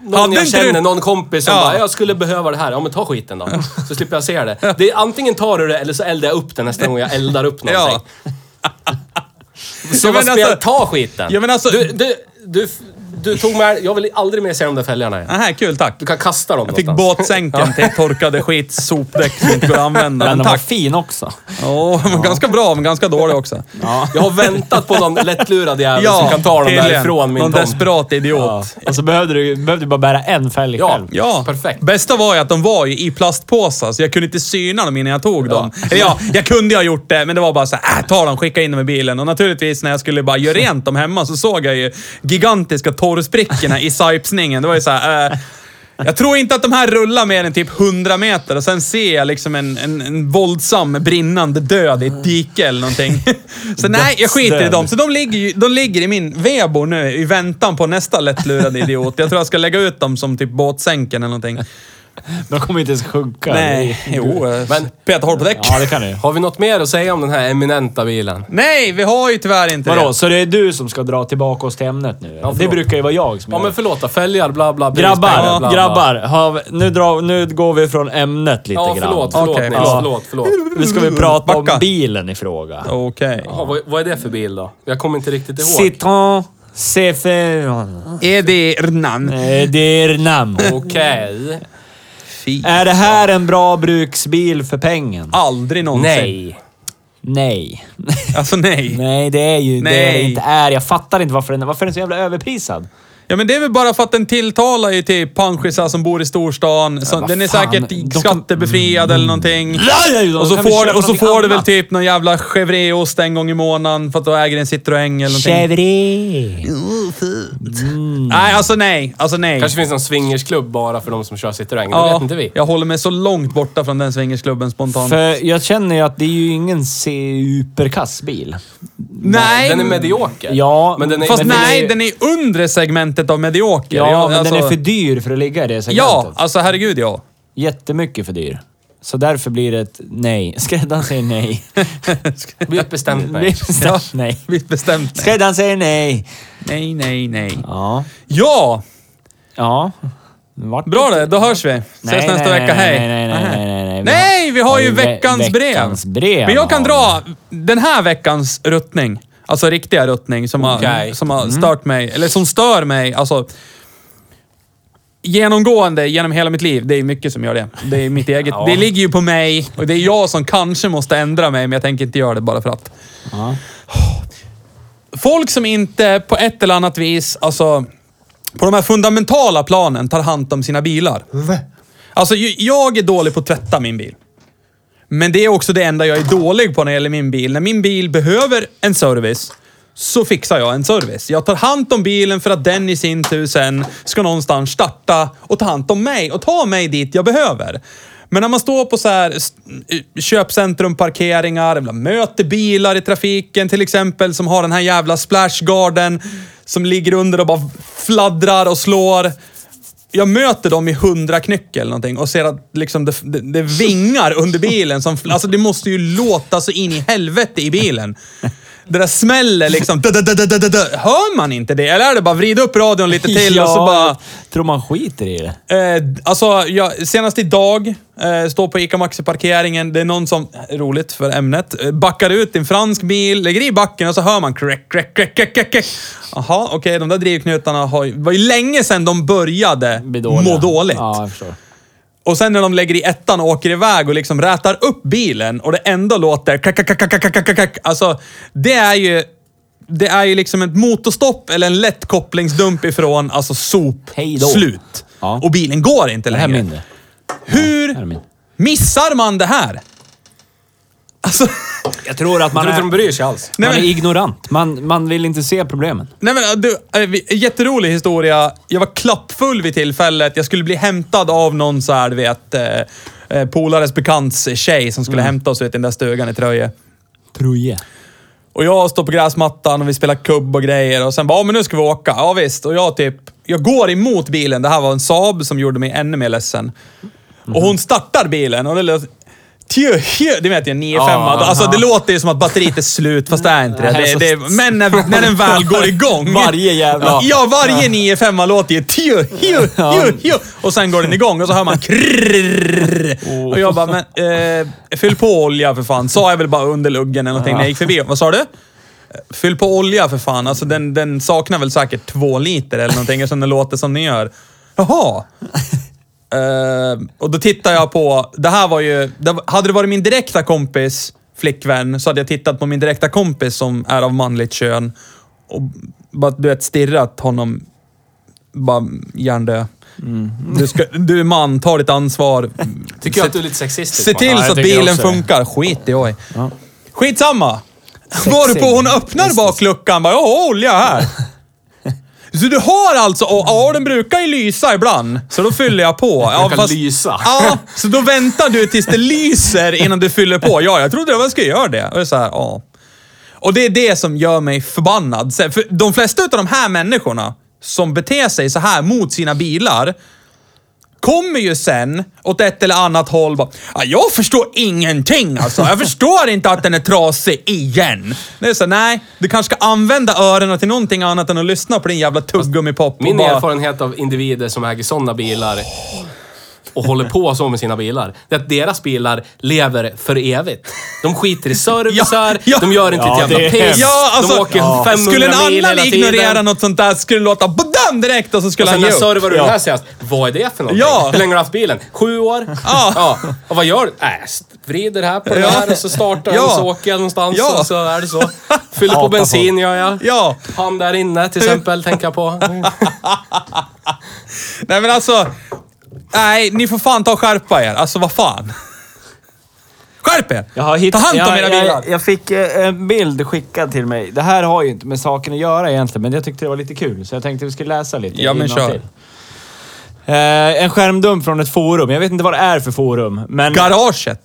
någon Hade jag inte känner, du- någon kompis som Ja. bara “jag skulle behöva det här”. Ja men ta skiten då. Så slipper jag se det. det är, antingen tar du det eller så eldar jag upp det nästa gång jag eldar upp någonting. Så Ja, vad men spelar alltså- ta skiten! Ja, men alltså- du, du, du, du tog med... Jag vill aldrig mer se de där fälgarna igen. Nähä, kul tack. Du kan kasta dem Jag fick någonstans. båtsänken till torkade skit, sopdäck som inte går att använda. Men Men den var tack. fin också. Åh, men ganska bra, men ganska dålig också. Jag har väntat på någon lättlurad jävel som kan ta dem tydligen. därifrån min Någon tomt. desperat idiot. Ja. Och så Alltså, behövde du, behövde du bara bära en fälg Ja. själv. Ja, Perfekt. bästa var ju att de var ju i plastpåsar, så jag kunde inte syna dem innan jag tog dem. Eller ja, jag kunde ju ha gjort det, men det var bara så här, äh, ta dem, skicka in dem i bilen. Och naturligtvis när jag skulle bara göra rent dem hemma så såg jag ju gigantiska torrsprickorna i sajpsningen. Det var ju så här, äh, jag tror inte att de här rullar mer än typ 100 meter och sen ser jag liksom en, en, en våldsam brinnande död i ett dike eller någonting. Så nej, jag skiter i dem. Så de ligger, ju- de ligger i min vebo nu i väntan på nästa lättlurade idiot. Jag tror jag ska lägga ut dem som typ båtsänken eller någonting. De kommer inte ens sjunka. Nej, jo. eh, Men- Men, peta hårt på däck. Ja, det kan du. Har vi något mer att säga om den här eminenta bilen? Nej, vi har ju tyvärr inte Vadå, det. så det är du som ska dra tillbaka oss till ämnet nu? förlåt. det brukar ju vara jag som Ja gör men det. förlåt då, fälgar, bla bla. bla, Grabbar, bla, bla. grabbar. Har, nu, drar, nu går vi från ämnet lite Ja, grann. förlåt, förlåt Okej, Nils. ja. Förlåt, förlåt. Nu ska vi prata om Backa. bilen i fråga. Okej. Ja, vad, vad är det för bil då? Jag kommer inte riktigt ihåg. Citroën C4. Är det Ernan? Eh, Det är namn. Okej. Fy. Är det här en bra bruksbil för pengen? Aldrig någonsin. Nej. Nej. Alltså nej. Nej, det är ju det det Nej. inte är. Jag fattar inte varför den, varför den är så jävla överprisad. Ja men det är väl bara för att den tilltalar ju till panschisar som bor i storstan. Så vad den är fan, de säkert kan- Mm. skattebefriad eller någonting. Och så, Kan vi får, köpa och så någonting får du väl annat? typ någon jävla chevreost en gång i månaden för att du äger en Citroën eller någonting. Chevrolet. Nej, alltså nej. Alltså nej. Kanske finns någon swingersklubb bara för de som kör Citroën. Det ja, vet inte vi. Jag håller mig så långt borta från den swingersklubben spontant. För jag känner ju att det är ju ingen superkass bil. nej! Den är medioker. Ja, men den är, Fast men den nej, är- den är i undre segmentet av medioker. Ja, Jag- men alltså, den är för dyr för att ligga i det Ja, segmentet. alltså herregud ja. Jättemycket för dyr. Så därför blir det ett nej. Skräddaren säger nej. Vi har ett bestämt Det är nej. Ja, bestämt nej. Vi bestämt nej. Skräddaren säger nej. Nej, nej, nej. Ja. Ja! Ja. Vart Bra det, då hörs vi. Ses Nej, nästa nej, vecka, nej, hej. nej, nej, nej, nej, nej. Vi Nej, vi har ju veckans ve- brev. veckans brev. Men jag kan har dra den här veckans ruttning. Alltså riktiga ruttning som, Okej. Mm. har, som har stört mig. Eller som stör mig. Alltså, genomgående genom hela mitt liv. Det är mycket som gör det. Det är mitt eget. Ja. Det ligger ju på mig och det är jag som kanske måste ändra mig, men jag tänker inte göra det bara för att. vi. Ja. Folk som inte på ett eller annat vis, alltså på de här fundamentala planen tar hand om sina bilar. Alltså, ju- jag är dålig på att tvätta min bil. Men det är också det enda jag är dålig på när det gäller min bil. När min bil behöver en service så fixar jag en service. Jag tar hand om bilen för att den i sin tur sen ska någonstans starta och ta hand om mig och ta mig dit jag behöver. Men när man står på så här s- köpcentrum, parkeringar, jävla möter bilar i trafiken till exempel som har den här jävla splashgarden som ligger under och bara fladdrar och slår jag möter dem i hundra knyck eller någonting och ser att liksom det, det, det vingar under bilen. Som, alltså det måste ju låta så in i helvete i bilen. Det där smäller liksom. Da, da, da, da, da, da. Hör man inte det? Eller är det bara vrida upp radion lite till och så Ja, bara... jag tror man skiter i det. Eh, alltså, jag, senast idag, eh, står på ICA Maxi-parkeringen, det är någon som, roligt för ämnet, eh, backar ut i en fransk bil, lägger i backen och så hör man crack, crack, crack, crack, crack, crack. Jaha, okej, de där drivknutarna har, ju- var ju länge sedan de började Blir dåliga. må dåligt. Ja, jag förstår. Och sen när de lägger i ettan och åker iväg och liksom rätar upp bilen och det ändå låter kack, kack, kack, kack, kack, kack, kack. Alltså, det är ju... Det är ju liksom ett motorstopp eller en lätt kopplingsdump ifrån, alltså sop, Hej då. slut. Ja. Och bilen går inte Det här är längre. min det. Hur här är min. missar man det här? Alltså, Jag tror att Jag man tror inte de är, bryr sig alls. man nej är men, ignorant. Man, man vill inte se problemen. nej men du, eh, vi- jätterolig historia. Jag var klappfull vid tillfället. Jag skulle bli hämtad av någon så här, du vet, eh, eh, polares bekants tjej som Mm. skulle hämta oss ut i den där stugan i Tröje. Troje. Och jag står på gräsmattan och vi spelar kubb och grejer och sen bara, ja men nu ska vi åka. Ja visst. Och jag typ, jag går emot bilen. Det här var en Saab som gjorde mig ännu mer ledsen. Och hon startar bilen och det låter... Tjö, tjö, det vet jag, 9-5. Ja, alltså det låter ju som att batteriet är slut, fast det är inte det. här är det, så- det men när, när den väl går igång. Varje jävla- Ja, varje 9-5 låter ju tjö, tjö, tjö, tjö. Och sen går den igång och så hör man krrrr. Och jag bara, men eh, fyll på olja för fan. Sa jag väl bara under luggen eller någonting när jag gick förbi. Vad sa du? Fyll på olja för fan. Alltså den, den saknar väl säkert två liter eller någonting eftersom den låter som den gör. Jaha. Eh, och då tittar jag på, det här var ju, det, var- hade det varit min direkta kompis flickvän så hade jag tittat på min direkta kompis som är av manligt kön och bara du vet stirrat honom, bara hjärndö. Du, ska, du är man, ta ditt ansvar. Mm. Tycker jag Se- att du är lite sexistisk. Se till Ja, jag så att tycker bilen också det. funkar. Skit i oj. Skitsamma! Var på hon öppnar bakluckan bara, jag har olja här. Så du har alltså, och, ja den brukar ju lysa ibland, så då fyller jag på. Ja, brukar lysa. Ja, så då väntar du tills det lyser innan du fyller på. Ja, jag trodde jag skulle göra det. Och det är så här, ja. Och det är det som gör mig förbannad. Sen- För de flesta av de här människorna som beter sig så här mot sina bilar, kommer ju sen åt ett eller annat håll bara, "Ja, jag förstår ingenting alltså. Jag förstår inte att den är trasig igen. Det är så, nej, du kanske ska använda öronen till någonting annat än att lyssna på din jävla tuggummi-pop. och Min bara- erfarenhet av individer som äger sådana bilar och håller på så med sina bilar, det är att deras bilar lever för evigt. De skiter i servicer, ja. de gör inte Ja, ett jävla det är piss, hemskt. Ja, de alltså, åker ja. 500 skulle en mil hela annan ignorera tiden. något sånt där skulle det låta badam direkt och så skulle Och sen han när ge upp. servar du den Ja. här senast, vad är det för någonting? Ja. Hur länge har du haft bilen? Sju år? Ja. Och vad gör du? Äh, st- vrider här på den Ja. här och så startar den Ja. och så åker jag någonstans Ja. och så är det så. Fyller på Hatar bensin gör jag. Ja, Han där inne till exempel, tänker jag på. nej men alltså. Nej, ni får fan ta och skärpa er. Alltså vad fan. Skärp er! Jag har hitt- ta hand om jag, era bilar. jag, jag fick eh, en bild skickad till mig. Det här har ju inte med saken att göra egentligen, men jag tyckte det var lite kul. Så jag tänkte vi skulle läsa lite. Ja, men innantill. kör. Eh, en skärmdump från ett forum. Jag vet inte vad det är för forum, men Garaget.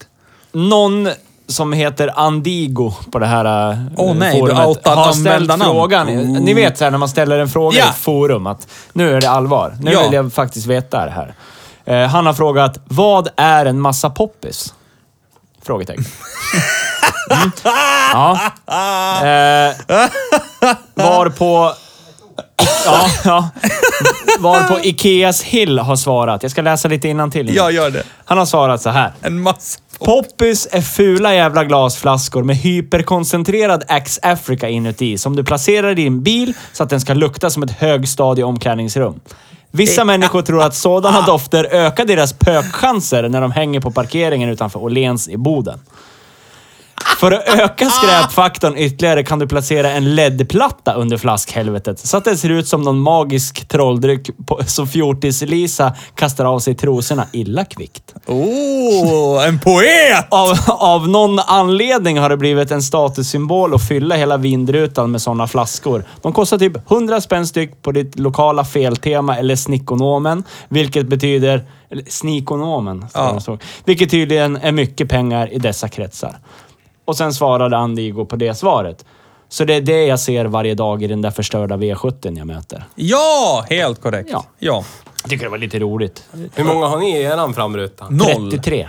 någon som heter Andigo på det här eh, Åh, nej, du forumet outade har ställt användarnamn. frågan. Ni vet så här, när man ställer en fråga i Oh. Ja. ett forum att nu är det allvar. Nu Ja. vill jag faktiskt veta det här. Eh, han har frågat, vad är en massa poppis? Frågetecken. Mm. Ja. Eh, varpå... Ja, ja. Varpå Ikeas Hill har svarat. Jag ska läsa lite innantill. Ja, gör det. Han har svarat så här. En massa. Poppis är fula jävla glasflaskor med hyperkoncentrerad Axe Africa inuti som du placerar i din bil så att den ska lukta som ett högstadieomklädningsrum. Vissa människor tror att sådana dofter ökar deras pökchanser när de hänger på parkeringen utanför Åhléns i Boden. För att öka skräpfaktorn ytterligare kan du placera en LED-platta under flaskhelvetet så att den ser ut som någon magisk trolldryck på- som fjortis-Lisa kastar av sig trosorna illa kvickt. Oh, en poet! Av, av någon anledning har det blivit en statussymbol att fylla hela vindrutan med sådana flaskor. De kostar typ 100 spänn styck på ditt lokala feltema eller Snickonomen, vilket betyder... Eller Snikonomen, står det så. vilket tydligen är mycket pengar i dessa kretsar. Och sen svarade Andigo på det svaret. Så det är det jag ser varje dag i den där förstörda V70 jag möter. Ja, helt korrekt. Ja. ja. Jag tycker det var lite roligt. Hur många har ni i eran framruta? Noll. 33. Vi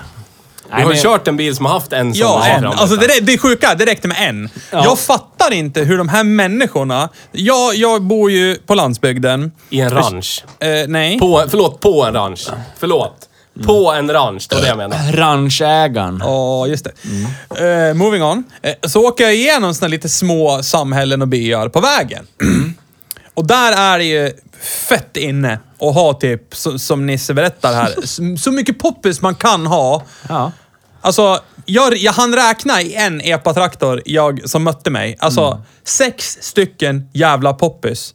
Nej, har men, ju kört en bil som har haft en sån Ja, där en. framruta. Alltså det, rä- det är sjuka, det räckte med en. Ja. Jag fattar inte hur de här människorna... Jag, jag bor ju på landsbygden. I en ranch. Eh, nej. På, förlåt, på en ranch. Förlåt. På en ranch, det var det jag menade. Ranchägaren. Ja, just det. Eh, moving on. Eh, så åker jag igenom såna lite små samhällen och byar på vägen. och där är det ju fett inne och ha typ, så, som Nisse berättar här, så, så mycket poppis man kan ha. Ja. Alltså, jag, jag hann räkna i en epatraktor jag, som mötte mig. Alltså, sex stycken jävla poppis.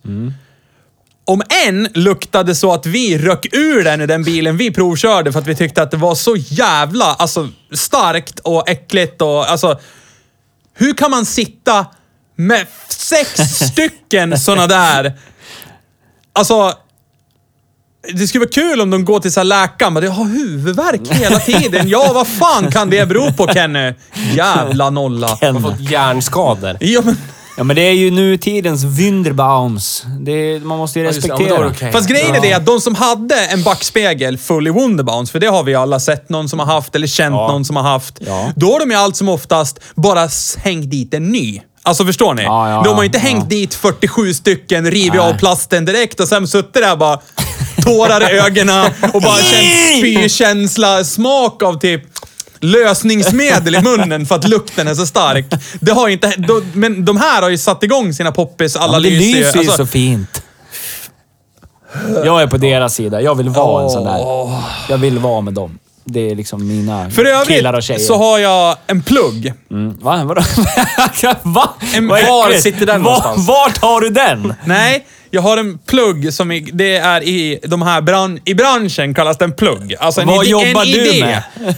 Om en luktade så att vi röck ur den i den bilen vi provkörde för att vi tyckte att det var så jävla alltså, starkt och äckligt och alltså... Hur kan man sitta med sex stycken såna där... Alltså... Det skulle vara kul om de går till så här läkaren men jag har huvudvärk hela tiden. Ja, vad fan kan det bero på Kenny? Jävla nolla. Jag har fått hjärnskador. Ja, men, Ja, men det är ju nutidens Wunderbaums. Det är, man måste ju Ja, just det. Ja, respektera. men då är det okej. fast grejen är det att de som hade en backspegel full i Wonderbounce, för det har vi alla sett någon som har haft eller känt någon som har haft. Ja. Då har de ju allt som oftast bara s- hängt dit en ny. Alltså förstår ni? Ja, ja, de har ju ja, inte ja. hängt dit 47 stycken, rivit av plasten direkt och sen suttit där bara tårar i ögonen och bara känt spykänsla, smak av typ lösningsmedel i munnen för att lukten är så stark. Det har ju inte, de, men de här har ju satt igång sina poppis, alla Men det lyser ju. lyser ju Alltså, så fint. Jag är på deras sida. Jag vill vara en sån där. Jag vill vara med dem. Det är liksom mina För killar och tjejer. övrigt så har jag en plugg. Mm. Va? Vadå? Va? En- Vad var äckligt. sitter den Va- någonstans? Vart har du den? Nej, jag har en plugg som i, det är i de här bran, i branschen kallas den plugg. Alltså en Vad ide- jobbar en du idé. med?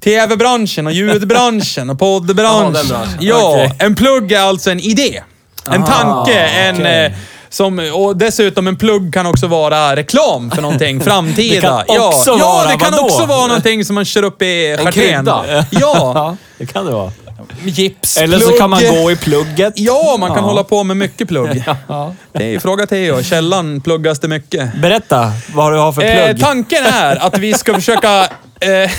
TV-branschen och ljudbranschen och Jaha, den poddbranschen. branschen. ja, Okej. en plugg är alltså en idé. En tanke, en... Ah, okej. Eh, som, och dessutom en plugg kan också vara reklam för någonting, framtida. Det kan också ja, vara ja, det kan vadå? också vara någonting som man kör upp i En stjärten. krydda. Ja. Ja, det kan det vara. Gips, Eller så kan man plugg. gå i plugget. Ja, man kan Ja. hålla på med mycket plugg. Det är ju fråga Theo. Källan pluggas det mycket. Berätta vad du har för plugg. Eh, tanken är att vi ska försöka... Eh,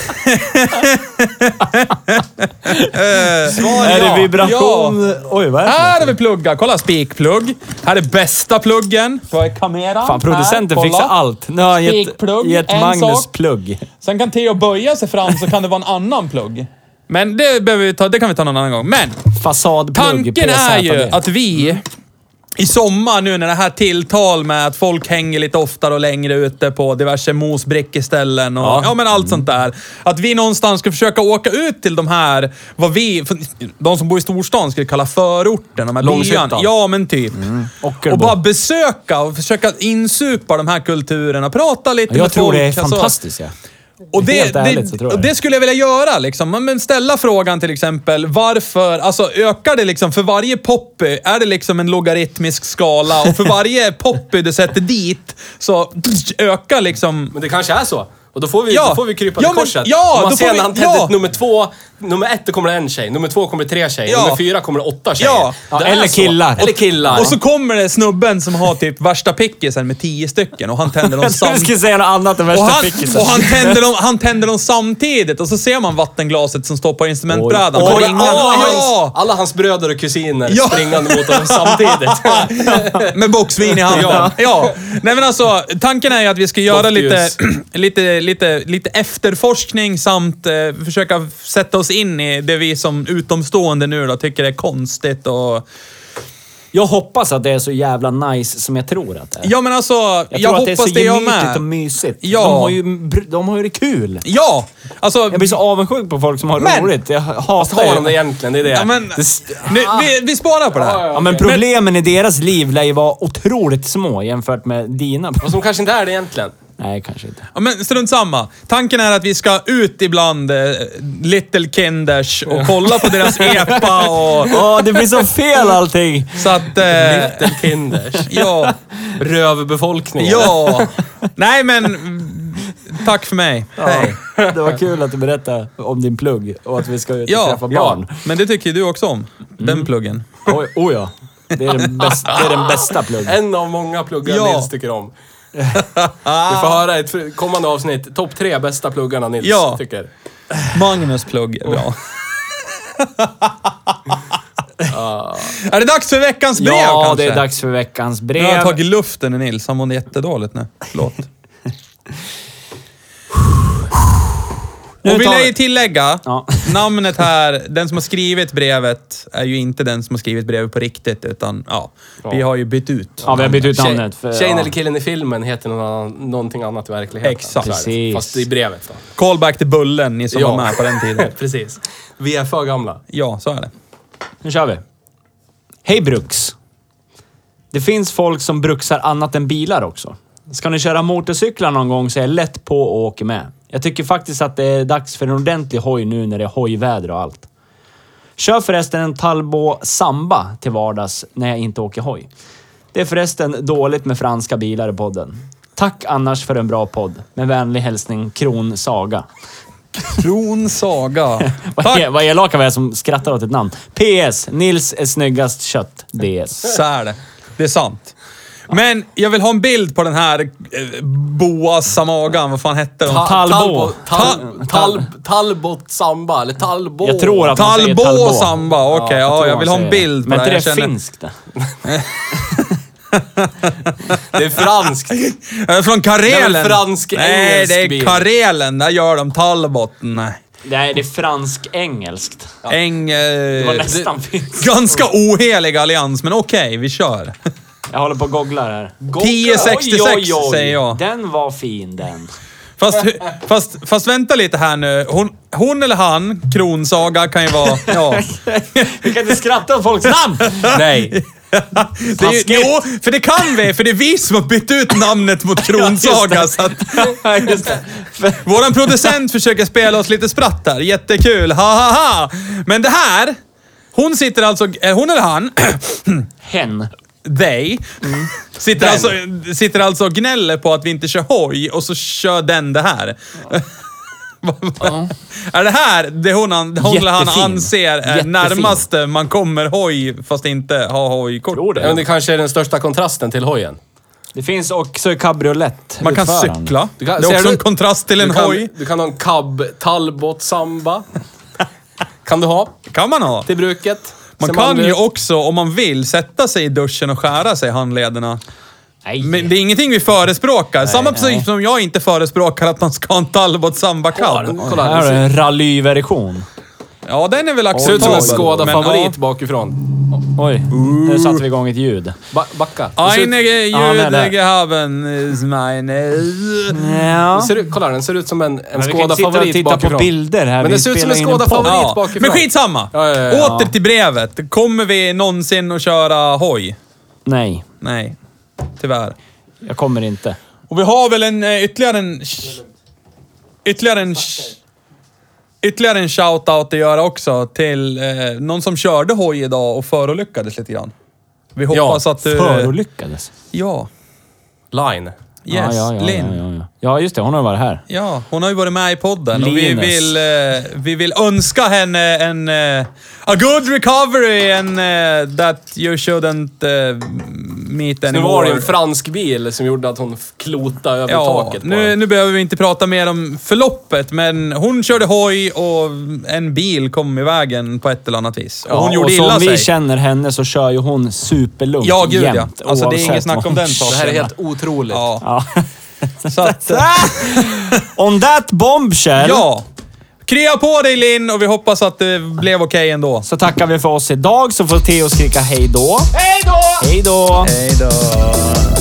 är ja. det vibration? Oj, vad är det? här för någonting? har vi pluggar. Kolla, spikplugg. Här är bästa pluggen. Vad är kameran? Fan, producenten Här, fixar kolla. allt. Nu har han gett, Spikplugg, gett en Magnus sak. plugg. Sen kan Theo böja sig fram så kan det vara en annan plugg. Men det, behöver vi ta, det kan vi ta någon annan gång. Men Fasadplugg. tanken är ju PZD. att vi i sommar nu när det här tilltal med att folk hänger lite oftare och längre ute på diverse mosbrickeställen och ja. men allt sånt där. Att vi någonstans ska försöka åka ut till de här, vad vi, för de som bor i storstan skulle kalla förorten, de här Långshyttan. byarna. Ja men typ. Ockelbo. Och bara besöka och försöka insupa de här kulturerna, prata lite Jag med tror folk. det är alltså. fantastiskt. Ja. Och det, Helt ärligt så det, tror jag och det. det skulle jag vilja göra. Liksom. Ja, Men ställa frågan till exempel, varför, alltså ökar det liksom för varje poppy, är det liksom en logaritmisk skala och för varje poppy du sätter dit så ökar liksom... Men det kanske är så. Och då får vi, Ja. då får vi krypa Ja, till men- korset. ja, Om då man får ser vi- när han ja. tänder nummer två, nummer ett, då kommer det en tjej. Nummer två kommer det tre tjejer. Ja. Nummer fyra kommer det åtta tjejer. Ja. Det Ja, är eller så. killar. Eller killar. Och så kommer det snubben som har typ värsta pickisen med tio stycken och han tänder dem Jag trodde du samtidigt. skulle säga något annat än Och, värsta han, fickisen. och han, tänder dem, han tänder dem samtidigt och så ser man vattenglaset som står på instrumentbrädan. Och på alla, ringarna. alla, hans, ja! alla hans bröder och kusiner Ja. springande mot honom samtidigt. Med boxvin i handen. Ja. Ja. Nej men alltså, tanken är ju att vi ska göra lite, Doftljus. lite, lite, lite efterforskning samt eh, försöka sätta oss in i det vi som utomstående nu då tycker är konstigt och... Jag hoppas att det är så jävla nice som jag tror att det är. Ja men alltså, jag, Jag tror att det är hoppas så det, jag gemytligt med. och mysigt. Ja. De, har ju, br- de har ju det kul. Ja! Alltså... Jag blir så avundsjuk på folk som har Men- roligt. Jag hatar Har de det ju. egentligen? Det är det. Ja, men, nu, Ah. vi, vi sparar på det här. Ja, men problemen i deras liv lär ju vara otroligt små jämfört med dina. Och som kanske inte är det egentligen. Nej, kanske inte. Ja, men strunt samma. Tanken är att vi ska ut ibland, eh, Little Kinders, och kolla på deras EPA och... Åh, det blir så fel allting! Så att... Eh, Little Kinders. ja. Rövbefolkningen. Ja. Nej, men... mm, Tack för mig. Hej. Ja, det var kul att du berättade om din plugg och att vi ska ut och Ja, träffa barn. Mm. ja, men det tycker ju du också om. Den pluggen. Oj, oh ja. Det är den bästa, det är den bästa pluggen. En av många pluggar Ja. Nils tycker om. Du får höra ett kommande avsnitt. Topp tre bästa pluggarna Nils Ja. tycker. Magnus plugg är bra. Är det dags för veckans brev Ja, kanske? det är dags för veckans brev. Nu har han tagit luften i Nils. Han mådde jättedåligt nu. Förlåt. Nu Och vill tar jag vi- ju tillägga, Ja. namnet här, den som har skrivit brevet är ju inte den som har skrivit brevet på riktigt, utan ja, vi har ju bytt ut. Ja, vi har bytt ut Tjej- namnet. För, Tjejen ja. eller killen i filmen heter någon annan, någonting annat i verkligheten. Exakt. Så är det. Precis. Fast i brevet då. Callback till Bullen, ni som Ja. var med på den tiden. Precis. Vi är för gamla. Ja, så är det. Nu kör vi. Hej Bruks. Det finns folk som bruksar annat än bilar också. Ska ni köra motorcyklar någon gång så är jag lätt på och åker med. Jag tycker faktiskt att det är dags för en ordentlig hoj nu när det är hojväder och allt. Kör förresten en Talbot Samba till vardags när jag inte åker hoj. Det är förresten dåligt med franska bilar i podden. Tack annars för en bra podd. Med vänlig hälsning Kron Saga. Kron Saga. Vad, Tack! e- vad elaka vi är som skrattar åt ett namn. PS. Nils är snyggast kött. DS. Så är det. Det är sant. Men jag vill ha en bild på den här eh, Boa Samagan, vad fan hette de? Talbo. Ah, Tal, tal, talbot Samba, eller Talbo. Jag tror att man säger Talbo Talbo. Samba, okej. jag ja, tror jag man vill ha en säger bild på Men det här. inte det Jag känner- finskt? det? det är franskt. Eh, Från Karelen. Nej, Det är väl fransk-engelsk det är bil. Karelen. Där gör de Talbotten. Nej. Nej, det är fransk-engelskt. Äng... Det var Eh, nästan finskt. ganska ohelig allians, men okej, vi kör. Jag håller på och googlar här. Googla. 1066 Oj, oj, oj. säger jag. Den var fin den. Fast, hu- fast, fast vänta lite här nu. Hon, hon eller han, Kronsaga, kan ju vara... Ja. Vi kan inte skratta åt folks namn! Nej. Det är ju, jo, för det kan vi, för det är vi som har bytt ut namnet mot Kronsaga. Så att Just det. våran producent försöker spela oss lite spratt här. Jättekul, ha ha ha! Men det här, hon sitter alltså, eh, hon eller han, Hen. they, Mm. sitter, alltså, sitter alltså och gnäller på att vi inte kör hoj och så kör den det här. Är det här det hon, an, hon eller han Jättefin. anser är Jättefin. närmaste man kommer hoj fast inte ha hojkort? Tror det. Ja, men det kanske är den största kontrasten till hojen. Det finns också cabriolet. Man kan utförande. cykla. Du kan- det är ser också du- en kontrast till en Du kan, hoj. du kan ha en cab Talbot Samba. kan du ha kan man ha. till bruket. Man Ser kan manlig ju ut. också, om man vill, sätta sig i duschen och skära sig i handlederna. Nej. Men det är ingenting vi förespråkar. Samma princip som jag inte förespråkar att man ska ha en Talbot Samba Cab. Kolla här här. har du Det en rallyversion. Ja, den är väl ser ut som acceptabel. en Skoda-favorit men bakifrån. Oj, nu satte vi igång ett ljud. Ba backa. ja. Det ser ut- Einige Ja, han är där. Judegehaven is mine. Ja. det ser ut- Kolla, den ser ut som en, en vi kan inte sitta och Skoda-favorit titta på bakifrån. bilder här. Men Vi det ser ut som spelar en in en Skoda-favorit podd. Ja, bakifrån. men skitsamma! Ja, ja, ja. Åter till brevet. Kommer vi någonsin att köra hoj? Nej, Nej, tyvärr. jag kommer inte. Och vi har väl en eh, ytterligare en... sh- Ytterligare en... sh- Ytterligare en shout-out att göra också till eh, någon som körde hoj idag och förolyckades lite grann. Vi hoppas att du... Förolyckades. Ja. Line. Yes, ja, ja, ja, Linn. Ja, ja, ja. ja, just det. Hon har varit här. Ja, hon har ju varit med i podden och vi Linus. vill, eh, vi vill önska henne en... eh, a good recovery and eh, that you shouldn't eh, meet Nu var det ju anymore. en fransk bil som gjorde att hon f- klotade över Ja, taket på nu, den. nu behöver vi inte prata mer om förloppet, men hon körde hoj och en bil kom i vägen på ett eller annat vis. Och hon gjorde och illa som vi sig. känner henne så kör ju hon superlugnt Ja, gud ja. jämt. Alltså det är oavsett inget snack vad om hon den saken. Det här är helt otroligt. Ja, Ja. så att, eh, On that bombshell ja. Krya på dig Linn och vi hoppas att det blev okej ändå. så tackar vi för oss idag så får Theo skrika hej då. Hej då! Hej då! Hej då.